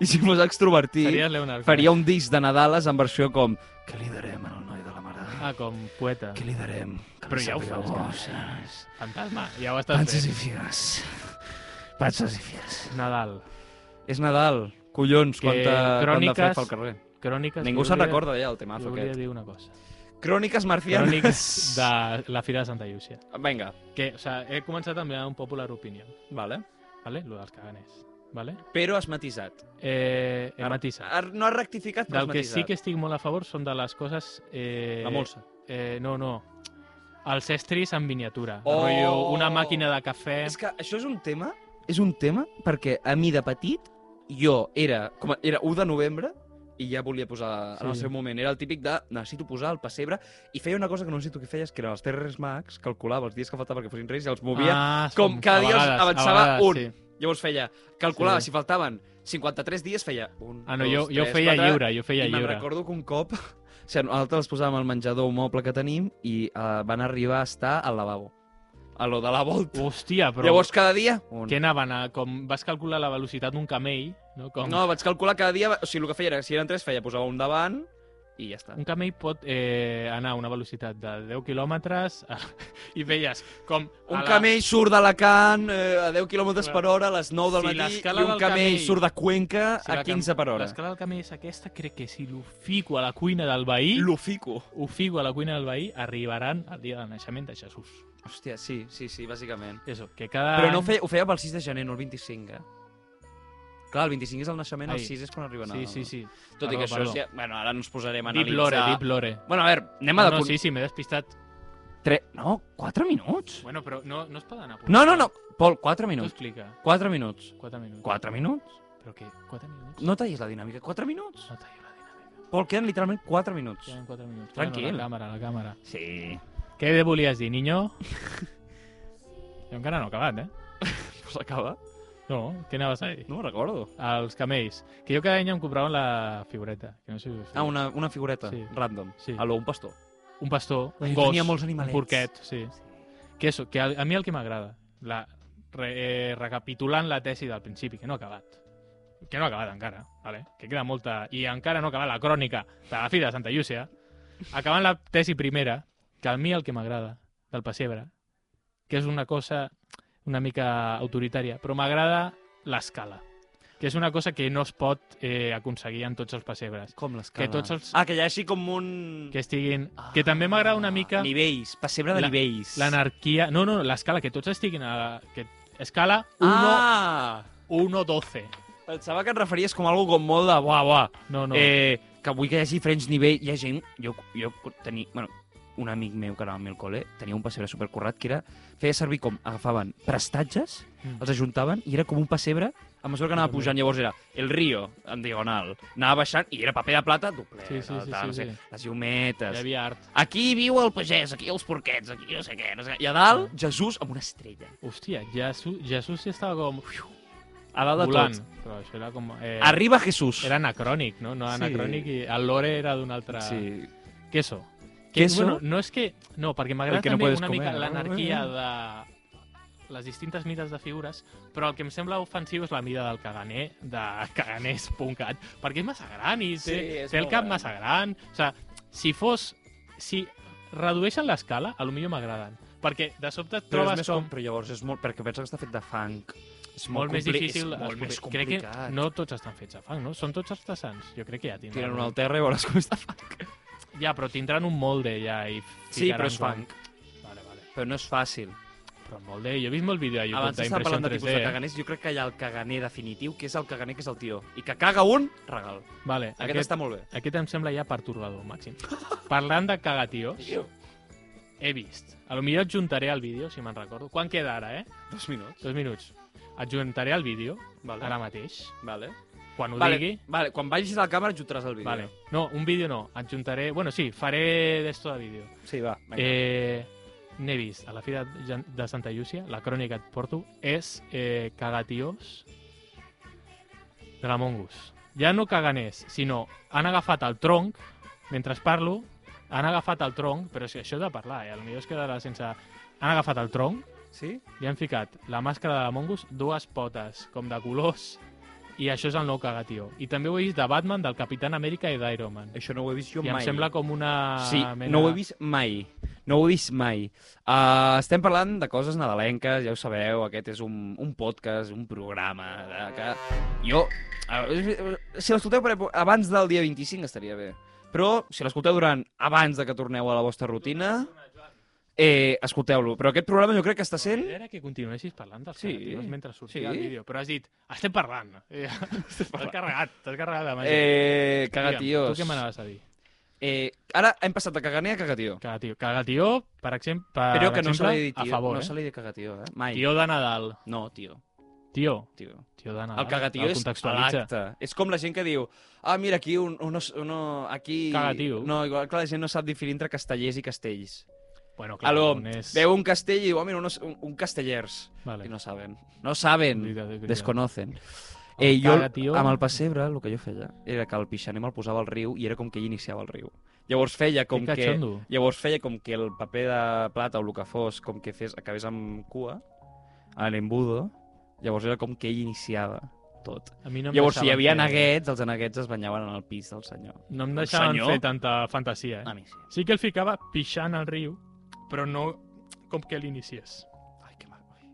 B: i si fos extrovertit,
A: Series Leonard.
B: faria un disc de Nadales en versió com que li darem al noi de la mare,
A: Ah, com poeta.
B: que li darem, que
A: Però
B: li
A: ja ho eh?
B: sàpiga
A: fas,
B: bo,
A: no?
B: saps?
A: Fantasma, ja ho estàs
B: Panses i
A: fent.
B: figues. Panses i figues.
A: Nadal.
B: És Nadal. Collons,
A: Que
B: quanta,
A: cròniques-
B: quanta fe fa al carrer.
A: Cròniques...
B: Ningú
A: jo
B: se'n
A: volia-
B: recorda ja del
A: Jo
B: temazo
A: volia
B: aquest.
A: dir una cosa.
B: Cròniques marcianes.
A: Cròniques de la Fira de Santa Llúcia.
B: Vinga,
A: Que, o sigui, he començat amb un popular opinion,
B: vale.
A: vale? Lo dels caganers, vale?
B: Però has matisat.
A: Eh, he matisat.
B: Ar- No has rectificat, però
A: Del
B: has
A: que
B: Ah, matisat.
A: sí que estic molt a favor són de les coses... Eh,
B: La molsa.
A: Eh, no, no. Els estris en miniatura.
B: Oh!
A: Oh! Rotllo, una màquina de cafè...
B: És que això és un tema, és un tema perquè a mi de petit jo era, com a, era 1 de novembre i ja volia posar sí. en el
A: Sí.
B: seu moment. Era el típic de necessito posar el pessebre i feia una cosa que no necessito que feies, que eren els Terres Mags, calculava els dies que faltava perquè fossin reis i els movia.
A: Ah,
B: com
A: som-
B: cada dia
A: a vegades,
B: avançava
A: a vegades,
B: un.
A: Sí.
B: Ah. Llavors feia, calculava
A: Sí.
B: sí. si faltaven 53 dies, feia 1,
A: Ah, no,
B: dos,
A: jo, jo
B: tres,
A: feia
B: quatre,
A: lliure, jo feia
B: I me'n
A: lliure.
B: recordo que un cop... O sigui, nosaltres els posàvem al menjador un moble que tenim i uh, van arribar a estar al lavabo. A lo de la volta.
A: Hòstia,
B: Però...
A: però...
B: Llavors cada dia... Un.
A: Què anaven a... Com vas calcular la velocitat d'un camell, no? Com...
B: No, vaig calcular cada dia... O sigui, el que feia era, si eren tres, feia, posava un davant i ja està.
A: Un camell pot eh, anar a una velocitat de 10 quilòmetres a... i veies com... a la-
B: Un camell surt d'Alacant eh, a 10 km per hora a les 9 del
A: Si
B: matí
A: l'escala
B: i un
A: del
B: camell
A: camell-
B: surt de Cuenca
A: si
B: a
A: la cam-
B: 15 per hora.
A: L'escala del camell és aquesta, crec que si l'ho fico a la cuina del veí...
B: Lo fico.
A: ho fico a la cuina del veí, arribaran el dia del naixement de Jesús.
B: Hòstia, sí, sí, sí, bàsicament.
A: Eso, que cada
B: Però no ho
A: any-
B: feia, ho feia pel 6 de gener, no el 25, eh? Clar, el 25 és el naixement,
A: Ai.
B: el 6 és quan arriben
A: Sí,
B: a...
A: sí, sí.
B: Tot
A: Perdó,
B: i que això
A: perdó.
B: és ja... Bueno, ara no ens posarem a
A: Deep
B: analitzar...
A: lore, deep lore.
B: Bueno, a veure, anem a...
A: No,
B: de
A: no,
B: con-
A: sí, sí, m'he despistat.
B: Tre... no 4 minuts?
A: Bueno, però no, no es poden anar...
B: No, no, no. Pol, 4
A: Tu
B: minuts.
A: explica.
B: 4 minuts.
A: 4 minuts.
B: 4 minuts?
A: Però què? 4 minuts?
B: No tallis la dinàmica. 4 minuts?
A: No tallo la dinàmica.
B: Pol, queden literalment 4 minuts.
A: Queden 4 minuts.
B: Tranquil.
A: Bueno, la càmera, la càmera.
B: Sí.
A: Què volies dir, niño? Jo encara no he acabat, eh?
B: S'acaba.
A: No, què anaves a dir?
B: No me'n recordo.
A: Els camells. Que jo cada any em compraven la figureta. Que no sé si us
B: Ah, una, una figureta,
A: Sí.
B: sí. random.
A: Sí.
B: Sí. Alò, un pastor.
A: Un pastor, un
B: Ai,
A: gos,
B: tenia molts
A: un
B: animalets.
A: porquet, sí. Que, eso, que a, a mi el que m'agrada, la, re, eh, recapitulant la tesi del principi, que no ha acabat, que no ha acabat encara, vale? que queda molta... I encara no ha acabat la crònica de la fi de Santa Llúcia. Acabant la tesi primera, que a mi el que m'agrada del pessebre, que és una cosa una mica autoritària, però m'agrada l'escala, que és una cosa que no es pot eh, aconseguir en tots els pessebres.
B: Com l'escala?
A: Que tots els-
B: Ah, que hi ha així com un... Ah.
A: Que estiguin... Que també m'agrada una mica...
B: Nivells, pessebre de
A: La-
B: nivells.
A: L'anarquia... No, no, l'escala, que tots estiguin a... la- Que... Escala 1,
B: Ah!
A: 1, 12.
B: Pensava que et referies com a algo com molt de buah, buah.
A: No, no.
B: No. Eh, que vull que hi hagi diferents nivells. Hi ha gent... Jo, jo tenia... Bueno, un amic meu que anava amb mi al col·le tenia un pessebre supercorrat que era... Feia servir com... Agafaven prestatges,
A: Mm.
B: els ajuntaven i era com un pessebre a mesura que anava
A: També.
B: pujant. Llavors era el río, en diagonal. Anava baixant i era paper de plata, doble.
A: Sí, sí, sí,
B: tal, no
A: sí,
B: sé,
A: sí.
B: Les llumetes.
A: Hi havia art.
B: Aquí viu el pagès, aquí els porquets, aquí no sé què, no sé què. I a dalt,
A: Ah.
B: Jesús amb una estrella.
A: Hòstia, Jesús, Jesús ja estava com... Uiu,
B: A dalt de
A: volant.
B: tot.
A: Però això era com... Eh,
B: Arriba Jesús.
A: Era anacrònic, no? No
B: Sí.
A: anacrònic i el lore era d'un altre...
B: Sí.
A: Queso. Que,
B: Queso?
A: Bueno, no és que... No, perquè m'agrada
B: El que no
A: també
B: puedes
A: una
B: comer,
A: mica
B: no?
A: l'anarquia de les distintes mides de figures, però el que em sembla ofensiu és la mida del caganer, de caganers.cat, perquè és massa gran i té,
B: Sí, és
A: té el
B: molt
A: cap
B: gran.
A: massa gran. O sigui, si fos... Si redueixen l'escala, a lo millor m'agraden. Perquè de sobte et
B: Però,
A: trobes
B: és més com...
A: com...
B: però llavors és molt... Perquè pensa que està fet de fang. És
A: Molt més
B: compli-
A: difícil.
B: És molt més
A: explicar. crec
B: complicat.
A: que no tots estan fets a fang, no? Són tots artesans. Jo crec que ja tindran...
B: Tiren un al terra i veuràs com està fang.
A: Ja, però tindran un molde ja i
B: Sí, però és
A: ficaran
B: fang.
A: com- Vale, vale.
B: Però no és fàcil.
A: Però molt bé, jo he vist molt vídeo a YouTube
B: Abans estava
A: d'impressió en eh?
B: parlant de
A: 3D.
B: tipus de caganers. Jo crec que hi ha el caganer definitiu, que és el caganer que és el tio. I que caga un, regal.
A: Vale,
B: Aquest,
A: aquest,
B: està molt bé.
A: aquest em sembla ja pertorbador, màxim. parlant de cagatios, he vist. A lo millor adjuntaré al vídeo, si me'n recordo. Quan queda ara, eh?
B: Dos minuts.
A: Dos minuts. Adjuntaré al vídeo,
B: Vale.
A: ara mateix,
B: Vale.
A: quan ho
B: Vale,
A: digui.
B: vale. Quan vagis a la càmera adjuntaràs el vídeo.
A: Vale. No, un vídeo no. Adjuntaré... Bueno, sí, faré d'esto de vídeo.
B: Sí, va. Vinga.
A: Eh, N'he vist a la fira de de Santa Llúcia, la crònica que et porto, és eh, cagatiós de la Mongus. Ja no caganers, sinó han agafat el tronc, mentre parlo, han agafat el tronc, però és que això he de parlar, eh? potser es quedarà sense... Han agafat el tronc
B: Sí?
A: i han ficat la màscara de la Mongus, dues potes, com de colors, i això és el nou cagatió. I també ho he vist de Batman, del Capitán Amèrica i d'Iron Man.
B: Això no ho he vist jo
A: I em
B: mai.
A: sembla com una...
B: Sí,
A: mena-
B: no ho he vist mai. No ho he vist mai. Uh, estem parlant de coses nadalenques, ja ho sabeu, aquest és un, un podcast, un programa, de, que jo... Uh, si l'escolteu per, èpo- abans del dia 25 estaria bé, però si l'escolteu durant abans de que torneu a la vostra rutina, eh, escolteu-lo. Però aquest programa jo crec que està sent...
A: Era que continuessis parlant dels
B: Sí.
A: cagatius mentre sortia
B: Sí.
A: el vídeo, però has dit, estem parlant. Eh, T'has carregat, t'has carregat la màgia.
B: Eh,
A: Digue'm,
B: cagatiós.
A: Tu què m'anaves a dir?
B: Eh, ara hem passat de caganer a cagatió.
A: Cagatió. Cagatió, per exemple, per
B: Però que no se
A: exemple,
B: li ha dit
A: a
B: tio,
A: favor,
B: no
A: eh?
B: se li ha dit cagatió, eh? Mai.
A: Tio de Nadal.
B: No, tio,
A: Tio.
B: tio.
A: Tio de Nadal.
B: El cagatió
A: Ah, El
B: és
A: contextualitza.
B: l'acte. És com la gent que diu, ah, mira, aquí, un, un, un, aquí...
A: Cagatiu.
B: No, igual que la gent no sap diferir entre castellers i castells.
A: Bueno, clar,
B: Alò,
A: un és...
B: veu un castell i diu, ah, mira, unos, un, un castellers.
A: Vale.
B: I no saben. No saben.
A: Veritat, veritat.
B: Desconocen.
A: El
B: Eh, jo,
A: cagatió-
B: amb el pessebre, el que jo feia era que el pixaner me'l posava al riu i era com que ell iniciava el riu. Llavors feia com
A: Que
B: que...
A: catxondo.
B: Llavors feia com que el paper de plata o el que fos, com que fes, acabés amb cua, a l'embudo, llavors era com que ell iniciava tot.
A: A mi no em
B: Llavors, si hi
A: deixaven
B: havia
A: fer-
B: neguets, els neguets es banyaven en el pis del senyor.
A: No em
B: El
A: deixaven
B: senyor? Ah,
A: fer tanta fantasia, eh?
B: A mi sí.
A: Sí que el ficava pixant al riu, però no com que l'iniciés.
B: Ai, que maco. ai.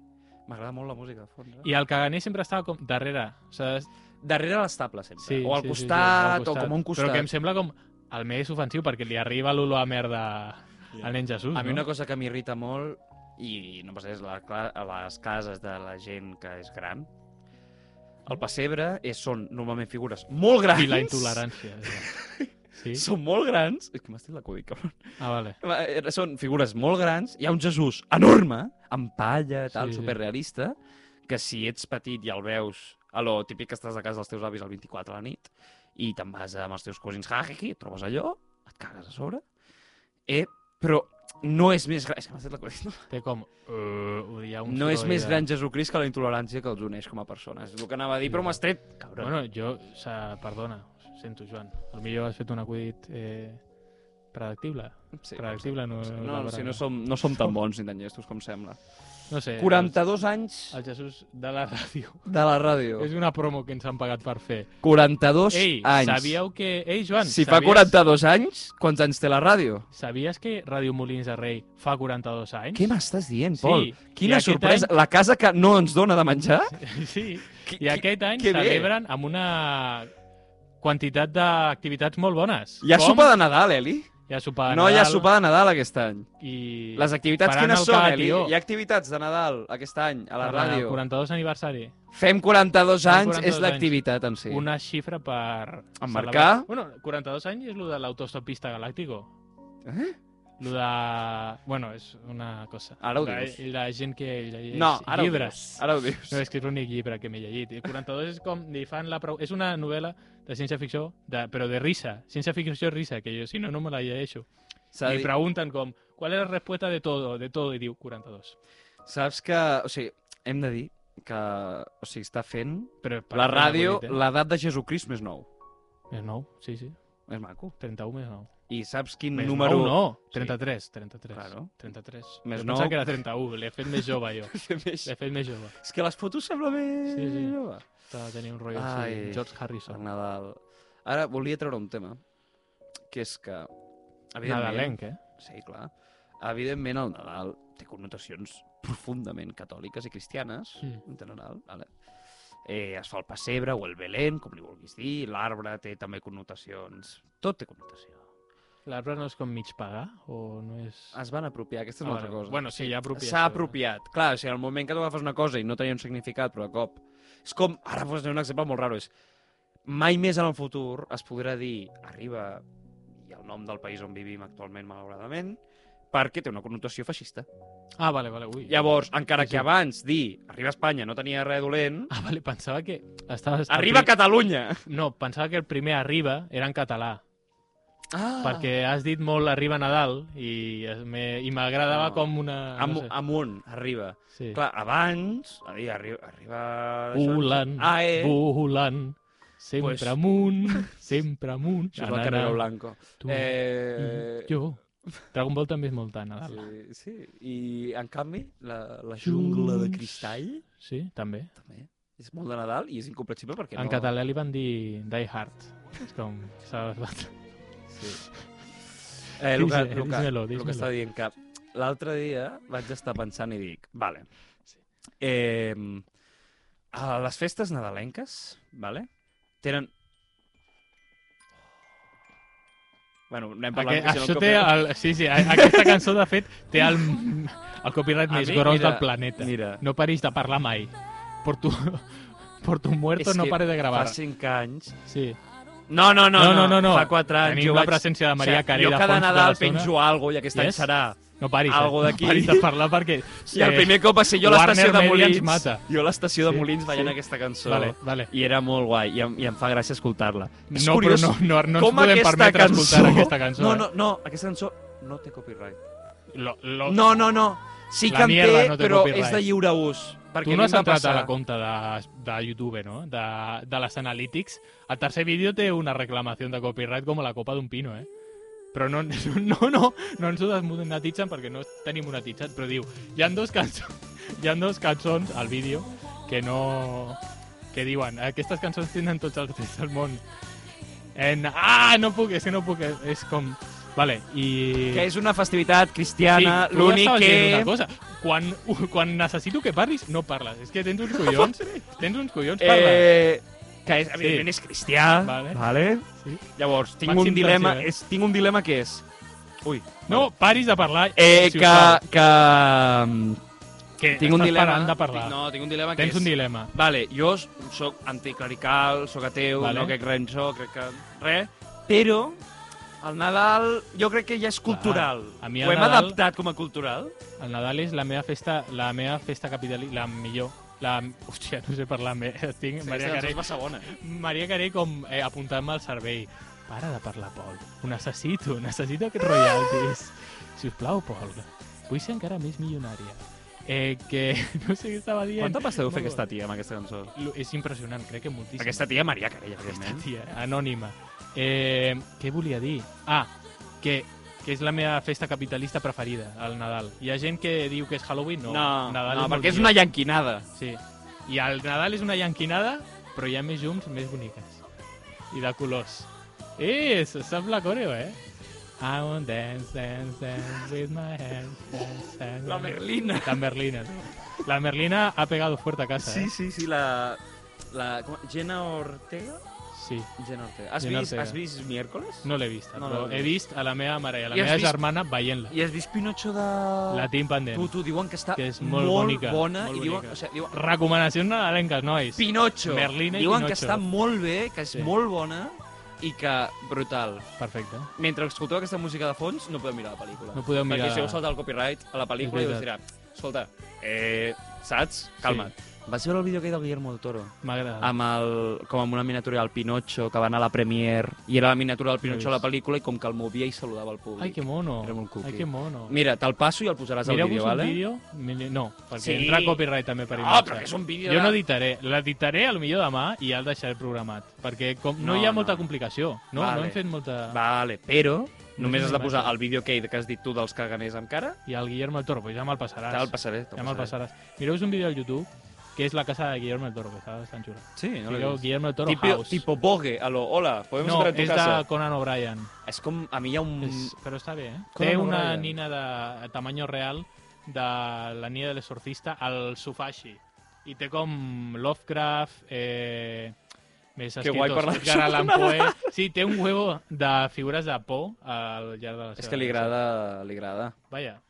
B: M'agrada molt la música de fons. Eh?
A: I el caganer sempre estava com darrere. O sigui,
B: Darrere l'estable, sempre.
A: Sí,
B: o al
A: sí, sí, sí,
B: costat,
A: al
B: o com a un costat.
A: Però que em sembla com el més ofensiu, perquè li arriba l'olor a merda al nen Jesús,
B: A mi
A: no?
B: una cosa que m'irrita molt, i no passa res, la, cla- a les cases de la gent que és gran, el pessebre és, són normalment figures molt grans.
A: I la intolerància. Sí?
B: Són molt grans. És que m'estic l'acudit, cabron.
A: Ah, vale.
B: Va, eh, Són figures molt grans. Hi ha un Jesús enorme, amb palla, tal,
A: Sí, sí.
B: sí, superrealista, que si ets petit i el veus, a lo típic que estàs a casa dels teus avis el 24 a la nit, i te'n vas amb els teus cosins, ha, ha, ha, trobes allò, et cagues a sobre. Eh, però no és més gran... És que m'ha fet la qüestió.
A: Té com... Uh, hi ha un
B: No és
A: soroll
B: més
A: de-
B: gran Jesucrist que la intolerància que els uneix com a persones. És el que anava a dir, però m'ho has tret, cabrón.
A: Bueno, jo... sa- Perdona, ho sento, Joan. Al millor has fet un acudit eh, predictible.
B: sí,
A: predictible no...
B: potser.
A: és la
B: no, no, Eh,
A: paraula.
B: si no, som, no som tan bons ni tan llestos com sembla.
A: No sé.
B: 42 anys
A: El, el Jesús de la ràdio.
B: de la ràdio.
A: És una promo que ens han pagat per fer.
B: 42
A: Ei,
B: anys.
A: sabíeu que... Ei, Joan,
B: Si fa
A: sabies...
B: 42 anys, quants anys té la ràdio?
A: Sabies que Ràdio Molins de Rei fa 42 anys?
B: Què m'estàs dient,
A: Sí,
B: Pol?
A: i
B: Quina
A: aquest
B: sorpresa. La casa que no ens dona de menjar?
A: Sí,
B: Qui-
A: i aquest any
B: que bé.
A: celebren amb una quantitat d'activitats molt bones.
B: Hi ha
A: Com-
B: sopar de Nadal, Eli?
A: Hi ha sopar de
B: No hi ha
A: Nadal
B: sopar de Nadal aquest any.
A: I...
B: Les activitats
A: faran
B: quines
A: el oh.
B: són, Eli?
A: catió.
B: Hi ha activitats de Nadal aquest any a la
A: Per
B: ràdio.
A: 42 aniversari.
B: Fem 42
A: Fem
B: anys
A: 42
B: és l'activitat en si.
A: Sí. Una xifra per...
B: Emmarcar.
A: celebrar. Bueno, 42 anys és lo de l'autostopista galàctico.
B: Eh?
A: Lo de... Bueno, és una cosa.
B: Ara ho
A: la,
B: dius.
A: La gent que llegeix
B: No, ara ho
A: llibres.
B: dius. Ara ho dius.
A: No, és que és l'únic llibre que m'he llegit. I 42 és com... Li fan la prou... És una novel·la de ciència-ficció, de... però de risa. Ciència-ficció i risa, que jo, si no, no me la llegeixo.
B: S'ha
A: Li
B: dit-
A: pregunten com... ¿Cuál es la respuesta de todo? De todo, i diu 42.
B: Saps que... O sigui, hem de dir que o sigui, està fent
A: Però per
B: la
A: fer
B: ràdio
A: bonit, eh?
B: l'edat de Jesucrist més nou.
A: Més 9, sí, sí.
B: És maco.
A: 31 més 9.
B: I saps quin
A: Més
B: número...
A: 9 no, 33, 33.
B: Claro.
A: 33.
B: Més
A: Més 9.
B: nou.
A: Pensava que era 31, l'he fet més jove jo.
B: és
A: L'he fet més jove.
B: que les fotos sembla més...
A: Sí, sí.
B: jove.
A: De tenir un rotllo
B: Ai.
A: així, George
B: El
A: Harrison.
B: Nadal. Ara volia treure un tema, que és que...
A: Nadalenc, eh?
B: Sí, clar. Evidentment, el Nadal té connotacions profundament catòliques i cristianes,
A: Sí.
B: en general. Vale? Eh, es fa el pessebre o el Belén, com li vulguis dir. L'arbre té també connotacions. Tot té connotació.
A: L'arbre no és com mig pagar? O no és...
B: Es van apropiar, aquesta és
A: Ah,
B: una altra
A: vale.
B: cosa.
A: Bueno, sí, hi ha apropiació,
B: S'ha
A: eh?
B: apropiat. Clar, o sigui, en el moment que tu agafes una cosa i no tenia un significat, però de cop... És com, ara posaré un exemple molt raro, és mai més en el futur es podrà dir arriba i el nom del país on vivim actualment, malauradament, perquè té una connotació feixista.
A: Ah, vale, vale, ui.
B: Llavors, encara
A: Sí, sí.
B: que abans dir arriba a Espanya no tenia res dolent,
A: Ah, vale, pensava que... Estaves...
B: arriba
A: el
B: a Catalunya!
A: pri- No, pensava que el primer arriba era en català,
B: Ah,
A: perquè has dit molt arriba Nadal i es- me- i m'agradava
B: No.
A: com una... ah,
B: Am
A: no sé.
B: amunt, arriba.
A: Sí.
B: Clar, abans, a dir, arriba... arriba
A: Volant,
B: Ah, eh?
A: volant, sempre
B: Pues-
A: amunt, sempre amunt.
B: Això
A: Na,
B: és el
A: na,
B: Carrero
A: na.
B: Blanco.
A: Tu
B: eh...
A: i jo. Dragon Ball també és molt tan Nadal. Sí.
B: Sí, sí, i en canvi, la, la
A: Junts.
B: jungla de cristall
A: sí, també.
B: també és molt de Nadal i és incomprensible perquè
A: En
B: no...
A: català li van dir Die Hard. És com... s'ha-
B: Sí. Eh, el que,
A: Dis-
B: el que,
A: dísmelo,
B: el que
A: dísmelo.
B: està dient que l'altre dia vaig estar pensant i dic, vale,
A: Sí.
B: eh, a les festes nadalenques, vale, tenen... Bueno, anem parlant...
A: Aquest,
B: que si no
A: això
B: em
A: té
B: copia-
A: el, sí, sí, a- aquesta cançó, de fet, té el, el copyright
B: A
A: més
B: mi,
A: gros
B: mira,
A: del planeta.
B: mira.
A: No pareix de parlar mai. Por tu, por tu muerto
B: És
A: no
B: que
A: pare de gravar.
B: Fa cinc anys
A: Sí.
B: No, no, no,
A: No, no, no, no.
B: Fa 4 anys.
A: Tenim
B: jo
A: la
B: vaig-
A: presència de Maria Carey
B: Jo
A: de
B: cada
A: fons de
B: Nadal
A: la zona.
B: penjo alguna i aquest any
A: Yes?
B: serà.
A: No paris,
B: Algo
A: eh?
B: d'aquí.
A: No paris de eh, parlar perquè...
B: I el primer cop va ser jo a l'estació de
A: Warner Media ens
B: Molins.
A: mata.
B: Jo a l'estació de
A: Sí,
B: Molins veient
A: sí.
B: aquesta cançó.
A: Vale, vale.
B: I era molt guai, i em, i em fa gràcia escoltar-la. És
A: No, però
B: curiós
A: no, no, no ens
B: com
A: podem
B: aquesta
A: permetre
B: cançó...
A: escoltar aquesta cançó. eh?
B: No, no, no, aquesta cançó no té copyright.
A: Lo, lo...
B: No, no, no. Sí
A: La
B: que en té,
A: mierda no té
B: però
A: copyright.
B: és de lliure ús. Perquè
A: Tu no
B: a mi
A: has
B: em va
A: entrat
B: passar...
A: a la compte de, de YouTube, no? De, de les Analytics. El tercer vídeo té una reclamació de copyright com a la copa d'un pino, eh? Però no, no, no, no ens ho desmonetitzen perquè no tenim monetitzat, però diu, hi han dos cançons, hi han dos cançons al vídeo que no... que diuen, aquestes cançons tenen tots els drets del món. En, ah, no puc, és que no puc, és com... Vale, i...
B: Que és una festivitat cristiana,
A: tu
B: l'únic
A: estaves
B: que...
A: dient Una cosa. Quan, quan necessito que parlis, no parles. És que tens uns collons. tens uns collons, parla. Eh...
B: Eh, que és, evidentment és cristià,
A: Vale.
B: vale.
A: Sí.
B: Llavors, tinc
A: Màxim
B: un dilema,
A: tensió, eh?
B: és, tinc un dilema que és... Ui.
A: No, paris de parlar,
B: Eh,
A: si us
B: que,
A: plau.
B: que... mm,
A: que
B: Tinc un
A: estàs
B: dilema.
A: parant de parlar.
B: Tinc- No, tinc un dilema que
A: tens
B: és...
A: un dilema.
B: Vale, jo s- sóc anticlerical, sóc ateu,
A: Vale.
B: vale. no crec res en això, crec que res, però el Nadal jo crec que ja és cultural.
A: a mi el
B: Ho hem
A: Nadal-
B: adaptat com a cultural.
A: El Nadal és la meva festa, la meva festa capital, la millor. La... Hòstia, no sé parlar. Me... Estic, Maria
B: Aquesta cançó
A: Carey,
B: és massa bona.
A: Maria Carey com eh, apuntant-me al cervell. Para de parlar, Pol. Ho necessito, necessito aquests royalties. Si us plau, Pol, vull ser encara més milionària. Eh, que no sé què estava dient.
B: Quanta pasta deu fer
A: Molt
B: aquesta tia amb aquesta cançó?
A: Lo- És impressionant, crec que moltíssim.
B: Aquesta tia Maria Carella,
A: Aquesta
B: evidentment.
A: tia, anònima. Eh, què volia dir? Ah, que, que és la meva festa capitalista preferida, el Nadal. Hi ha gent que diu que és Halloween, no. Nadal
B: no
A: molt
B: perquè és
A: millor.
B: una llanquinada.
A: Sí. I el Nadal és una llanquinada, però hi ha més llums més boniques. I de colors. Eh, se sap la coreo, eh? I want dance, dance, dance with my hands. Dance, dance.
B: La Merlina.
A: La Merlina. sí. La Merlina ha pegado fuerte a casa, eh?
B: Sí, sí, sí, la... la com, Jenna Ortega?
A: Sí.
B: Jenna Ortega. Has,
A: Jenna
B: vist,
A: Ortega.
B: has vist Miércoles?
A: No l'he vista,
B: No,
A: però
B: no, no.
A: he vist a la meva mare i a la
B: I has
A: meva
B: vist-
A: germana veient-la.
B: I has vist Pinocho de...
A: La tinc pendent.
B: Tu, tu, diuen que està
A: Que és molt bonica,
B: bona
A: molt
B: i diuen,
A: bonica.
B: o sigui, diuen
A: Recomanacions nadalenques, nois.
B: Pinocho.
A: Merlina i
B: diuen que
A: Pinocho.
B: està molt bé, que és
A: Sí.
B: molt bona i que brutal.
A: Perfecte.
B: Mentre escolteu aquesta música de fons, no podeu mirar la pel·lícula.
A: No podeu mirar-
B: Perquè si heu saltat el copyright a la pel·lícula
A: És
B: i us dirà, escolta, eh, saps? Calma't. Sí. Vas veure el vídeo aquell del Guillermo del Toro?
A: M'agrada.
B: amb el, com amb una miniatura del Pinocho que va anar a la Premiere i era la miniatura del Pinocho a la pel·lícula i com que el movia i saludava al públic.
A: Ai, que mono.
B: Era molt cuqui.
A: Ai, que mono.
B: Mira, te'l passo i el posaràs al
A: Mireu-vos
B: vídeo,
A: un
B: vale?
A: vídeo... mili- No, perquè
B: Sí.
A: sí. entra copyright també per
B: No,
A: imatge.
B: però que és un vídeo
A: Jo
B: de-
A: no editaré. L'editaré a lo millor demà i ja el deixaré programat. Perquè com... no,
B: No,
A: hi ha
B: no.
A: molta complicació. No,
B: Vale.
A: no hem fet molta...
B: Vale, però només
A: una
B: has de posar
A: imatge.
B: el vídeo aquell que has dit tu dels caganers amb cara.
A: I el Guillermo del Toro, pues ja me'l passaràs.
B: Te'l passaré. Te'l
A: Ah, ja me'l
B: passaré.
A: passaràs. Mireu-vos un vídeo al YouTube, que és la casa de Guillermo del Toro, que està bastant xula.
B: Sí, no l'he
A: Mireu
B: vist.
A: Guillermo del Toro
B: Tipo,
A: House.
B: tipo Bogue, a lo, hola, podem
A: no,
B: entrar a tu
A: és
B: casa.
A: de Conan O'Brien.
B: És com, a mi hi ha un...
A: És... Mm, Però està bé, eh?
B: Conan
A: Té una
B: O'Brien.
A: nina de tamaño real de la nina de l'exorcista al sofà així. I té com Lovecraft, eh, més
B: Que guai
A: escritos,
B: parlar
A: Edgar
B: sobre
A: Allan Poe... Sí, té un huevo de figures de por al llarg de la seva...
B: És que li agrada, li agrada.
A: Vaja.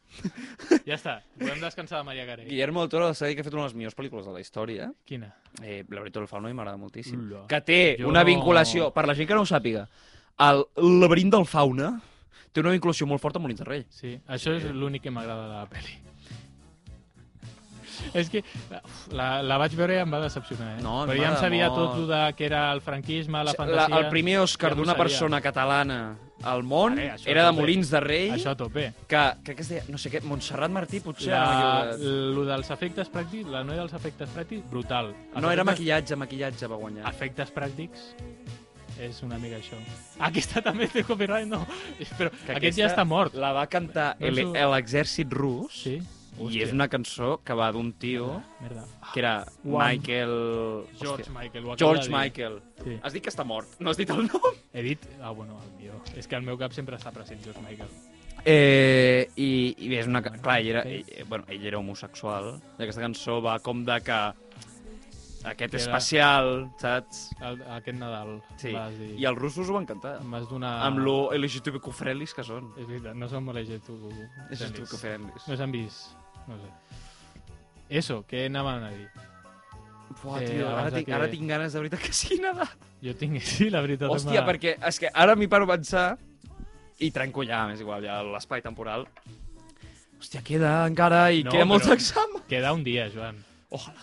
A: Ja està, podem descansar de Maria Carey.
B: Guillermo del Toro s'ha dit que ha fet una de les millors pel·lícules de la història.
A: Quina?
B: Eh, Laberinto del Fauno i m'agrada moltíssim.
A: Ula.
B: Que té
A: Jo
B: una
A: no-
B: vinculació, per la gent que no ho sàpiga, el Laberint del Fauna té una vinculació molt forta amb Molins de Rei.
A: Sí, això és l'únic que m'agrada de la pel·li. És que uf, la, la vaig veure i em va decepcionar, eh?
B: No, em
A: Però ja em
B: m'agrada
A: sabia
B: molt.
A: tot el de que era el franquisme, la fantasia...
B: el primer Òscar
A: ja m'ho
B: d'una
A: sabia.
B: persona catalana al món
A: Ara, això
B: era de
A: també.
B: Molins de Rei,
A: Això a tope.
B: que crec que es deia, no sé què, Montserrat Martí, potser...
A: La,
B: ara m'he equivocat.
A: lo dels efectes pràctics, la noia dels efectes pràctics, brutal. Els
B: no, era
A: efectes-
B: maquillatge, maquillatge va guanyar.
A: Efectes pràctics és una mica això. Aquesta també té copyright, no. Però
B: Que
A: aquest ja
B: aquesta
A: està mort.
B: La va cantar
A: No ens ho-
B: el- l'exèrcit rus,
A: Sí.
B: i és una cançó que va d'un tio
A: Merda.
B: que era
A: Ah, Juan.
B: Michael...
A: George
B: Hòstia,
A: Michael. ho acabo
B: George
A: de dir.
B: Michael.
A: Sí.
B: Has dit que està mort, no has dit el nom.
A: He dit... Ah, bueno, el millor. És que al meu cap sempre està present George Michael.
B: Eh, i, i és una... ca- Clar, ell era, ell, eh, bueno, ell era homosexual. I aquesta cançó va com de que aquest
A: Era-
B: especial, saps?
A: El, aquest Nadal
B: Sí.
A: vas dir...
B: I els russos ho van cantar.
A: Em vas donar...
B: Amb lo LGTB cofrelis que són.
A: És veritat, no som molt tu.
B: LGTB cofrelis.
A: No s'han vist. No sé. Eso, què anaven a dir?
B: Buah,
A: Eh,
B: tio, ara,
A: abans de
B: tinc,
A: que-
B: ara tinc ganes de veritat que sigui Nadal.
A: Jo tinc... Sí, la veritat.
B: Hòstia,
A: m'ha-
B: perquè és que ara m'hi paro a pensar i trenco ja, m'és igual, ja l'espai temporal. Hòstia, queda encara i
A: No,
B: queda
A: però-
B: molts exàmens.
A: Queda un dia, Joan.
B: Ojalà.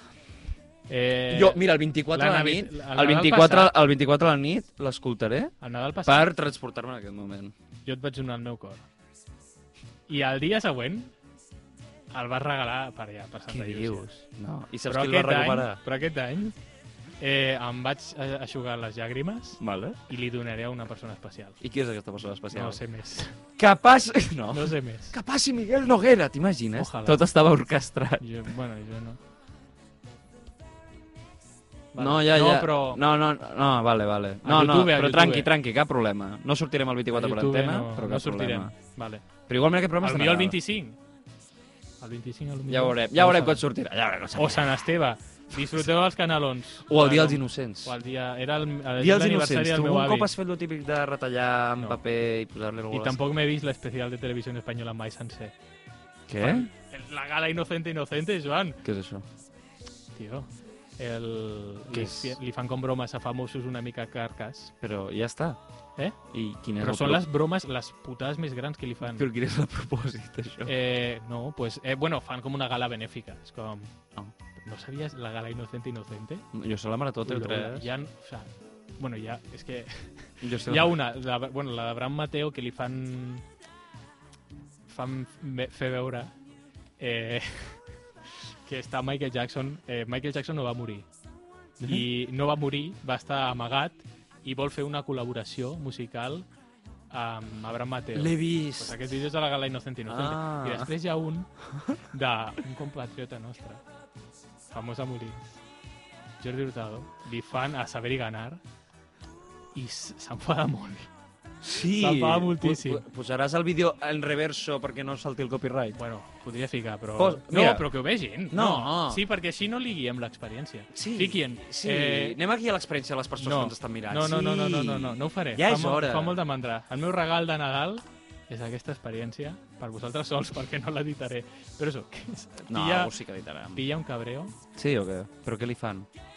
A: Eh,
B: Jo, mira, el 24
A: la
B: a la
A: Navi-
B: nit,
A: el
B: el
A: Nadal
B: 24,
A: passat-
B: el 24 a la nit l'escoltaré
A: El Nadal passat
B: per transportar-me en aquest moment.
A: jo et vaig donar el meu cor. I el dia següent el vas regalar per allà, per Santa Llúcia.
B: No. I saps
A: Però
B: qui el va
A: aquest any,
B: recuperar?
A: però aquest any eh, em vaig eh, aixugar les llàgrimes
B: Vale.
A: i li donaré a una persona especial.
B: I qui és aquesta persona especial? Oh.
A: No sé més.
B: Que passi... No.
A: No sé més.
B: Que passi Miguel Noguera, t'imagines?
A: Ojalà.
B: Tot estava orquestrat.
A: Jo, bueno, jo no. Vale.
B: No, ja,
A: no,
B: ja.
A: Però
B: No, no, no, vale, vale.
A: A
B: No, no,
A: YouTube, a
B: però
A: YouTube.
B: tranqui, tranqui, cap problema. No sortirem el
A: a
B: 24 per
A: YouTube
B: antena,
A: no,
B: però
A: no
B: cap
A: sortirem.
B: problema.
A: Vale.
B: Però igualment aquest programa
A: El
B: està
A: millor el
B: Nadal.
A: 25. El 25 el
B: Ja veurem, ja veurem quan sortirà. Ja veurem, no sé.
A: O Sant Esteve. Disfruteu els canalons.
B: O el dia dels
A: Bueno,
B: Innocents.
A: O el dia... Era el- el-
B: Dia dels
A: l'aniversari
B: Innocents.
A: del
B: Tu
A: meu
B: un
A: avi.
B: cop has fet lo típic de retallar amb
A: No.
B: paper i posar-li alguna
A: I tampoc m'he vist l'especial de Televisió Espanyola mai sencer.
B: Què?
A: La gala Inocente Inocente, Joan.
B: Què és això?
A: Tio, el...
B: Què
A: Li,
B: és?
A: li fan com bromes a famosos una mica carcas.
B: Però ja està.
A: Eh?
B: I quin és
A: Però
B: el
A: són
B: pro-
A: les bromes, les putades més grans que li fan.
B: Però quin és el propòsit, això?
A: Eh, no, pues, eh, bueno, fan com una gala benèfica. És com...
B: Ah.
A: ¿No sabías la gala Inocente Inocente?
B: Eh, Jo sé la marató,
A: Ui,
B: teu eh?
A: ui,
B: tres.
A: hi ha, o sea, Bueno, ja, és que
B: Jo sé
A: hi ha una, la, bueno, la de Bram Mateo, que li fan... fan ve- fer veure eh, que està Michael Jackson. Eh, Michael Jackson no va morir. I no va morir, va estar amagat i vol fer una col·laboració musical amb Abraham Mateo.
B: L'he
A: Pues
B: vist.
A: aquest vídeo és de la gala Inocente Inocente.
B: Ah.
A: I després hi ha un d'un compatriota nostre, famós a morir, Jordi Hurtado, li fan a saber i ganar i s- s'enfada molt.
B: Sí.
A: Se'n va
B: Pu-
A: moltíssim.
B: pu- Posaràs el vídeo en reverso perquè no salti el copyright.
A: Bueno, podria ficar, però...
B: Pos-
A: no,
B: mira.
A: però que ho vegin.
B: No.
A: Sí, perquè així no li guiem l'experiència.
B: Sí,
A: Fiquin.
B: sí. Eh... Anem aquí a l'experiència de les persones
A: no.
B: que ens estan mirant.
A: No, no, no, no,
B: Sí.
A: no, no, no, no ho faré.
B: Ja
A: fa
B: és
A: molt-
B: hora.
A: Fa molt de mandra. El meu regal de Nadal és aquesta experiència, per vosaltres sols, perquè no l'editaré. Però això, que és,
B: No,
A: pilla,
B: ho sí que editarem.
A: pilla un cabreo,
B: Sí o què? Però què li fan?
A: Mm.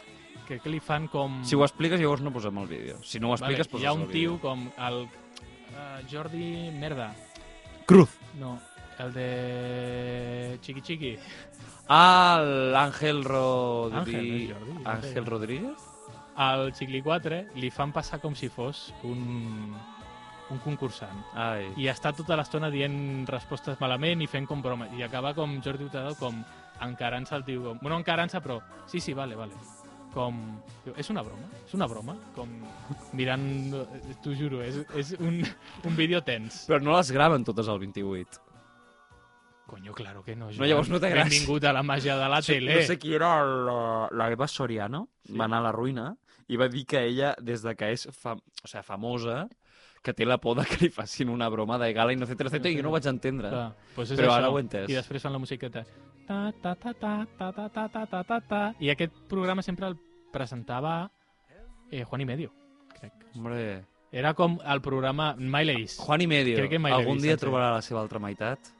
A: que, que li fan com...
B: Si ho expliques, llavors no posem el vídeo. Si no ho expliques,
A: vale,
B: poses
A: hi ha un
B: el
A: tio
B: vídeo.
A: com el uh, Jordi Merda.
B: Cruz.
A: No, el de Chiqui Chiqui.
B: Ah, l'Àngel
A: Ángel,
B: Rodríguez.
A: no és Jordi.
B: Àngel Rodríguez?
A: Al Chicli 4 li fan passar com si fos un, un concursant.
B: Ai.
A: I està tota l'estona dient respostes malament i fent com broma. I acaba com Jordi Hurtado com encarant-se el tio. Com, bueno, encarant-se, però sí, sí, vale, vale. Com... diu, És una broma? És una broma? Com mirant... T'ho juro, és, és un, un vídeo tens.
B: Però no les graven totes al 28.
A: Coño, claro que no, Joan.
B: llavors no té gràcia.
A: Benvingut a la màgia de la tele.
B: No sé qui era la, la Eva Soriano, sí. va anar a la ruïna i va dir que ella, des de que és fam... o sigui, famosa, que té la por de que li facin una broma de gala inocente, inocente, i jo no ho vaig entendre.
A: Clar, doncs és
B: Però
A: això.
B: ara ho he entès.
A: I després fan la musiqueta. Ta, ta, ta, ta, ta, ta, ta, ta, ta, ta, ta. I aquest programa sempre el presentava eh, Juan i Medio, crec.
B: Hombre,
A: Era com el programa... Mai l'he vist.
B: Juan i Medio,
A: Crec que mai l'he
B: algun
A: vist,
B: dia
A: sencer.
B: trobarà la seva altra meitat?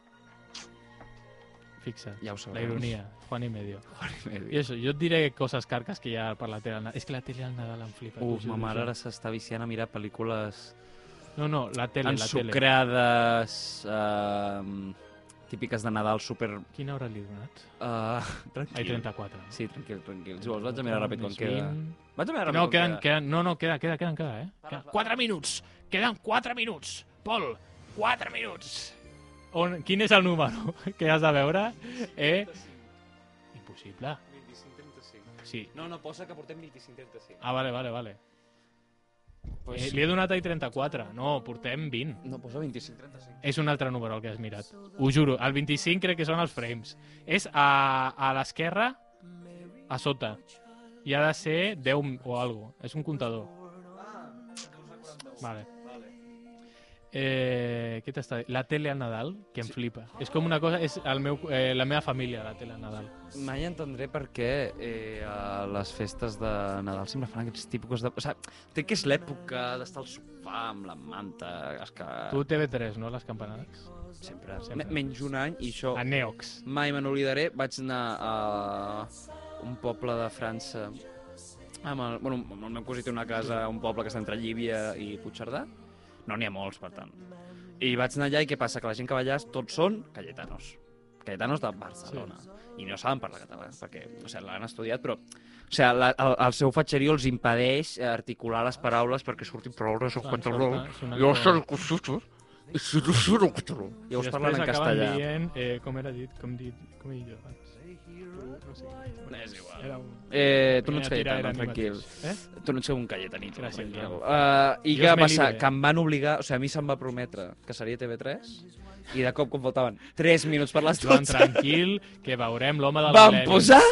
A: Fixa't.
B: Ja ho sabrem.
A: La ironia. Juan i Medio.
B: Juan i
A: I
B: Medio.
A: això, jo et diré coses carques que hi ha per la tele. al Nadal. És que la tele al Nadal em flipa. t'ho
B: Uf,
A: juro,
B: ma mare
A: Joan.
B: ara s'està viciant a mirar pel·lícules
A: No, no, la tele, la tele.
B: ensucrades, eh, típiques de Nadal, super...
A: Quina hora li he donat?
B: Eh,
A: Ai,
B: tranquil.
A: 34.
B: Sí, tranquil, tranquil. Si vols, vaig a mirar ràpid quan queda. Vaig a mirar ràpid
A: No,
B: quan
A: queden,
B: queda.
A: queden, no, no, queda, queda, queda, queda, eh? Queda.
D: 4 minuts. Queden 4 minuts. Pol, 4 minuts.
A: On, quin és el número que has de veure? Eh? Impossible.
B: 25-35.
A: Sí.
B: No, no, posa que portem 25-35.
A: Ah, vale, vale, vale.
B: Pues...
A: Eh, li he donat ahir 34. No, portem 20.
B: No, posa 25-35.
A: És un altre número el que has mirat. Ho juro. El 25 crec que són els frames. És a, a l'esquerra, a sota. I ha de ser 10 o algo. És un comptador. Vale. Eh, què t'està La tele al Nadal, que em flipa. És com una cosa... És el meu, eh, la meva família, la tele al Nadal.
B: Mai entendré per què eh, a les festes de Nadal sempre fan aquests típics de... O sigui, crec que és l'època d'estar al sofà amb la manta, és que...
A: Tu TV3, no? Les campanades.
B: Sempre,
A: sempre.
B: Me- Menys un any i això
A: A Neox.
B: mai me n'oblidaré. Vaig anar a un poble de França amb el, bueno, amb el meu cosí té una casa a un poble que està entre Llívia i Puigcerdà. No n'hi ha molts, per tant. I vaig anar allà i què passa? Que la gent que va allà tots són cayetanos. Cayetanos de Barcelona. I no saben parlar català, perquè o sigui, l'han estudiat, però... O sigui, la, el, el seu fatxerio els impedeix eh, articular les paraules perquè surtin paraules en
A: Clar,
B: català.
A: clar, clar,
B: Jo
A: clar.
B: sé el que surto, i si no sé el català. Llavors parlen en castellà.
A: Dient, eh, com era dit, com dit, com he dit jo abans. No sé.
B: És igual.
A: Era un...
B: Eh, tu no ets
A: Era tirar,
B: cayetano,
A: era mi
B: tranquil.
A: mateix. Eh?
B: Tu no ets un cayetanito,
A: Gràcies,
B: tranquil.
A: Guillem.
B: Uh, I
A: Dios
B: què va
A: me
B: passar?
A: libre.
B: Que em van obligar, o sigui, a mi se'm va prometre que seria TV3 i de cop, com faltaven 3 minuts per les
A: Joan,
B: 12,
A: tranquil, que veurem l'home del
B: van
A: Belén.
B: posar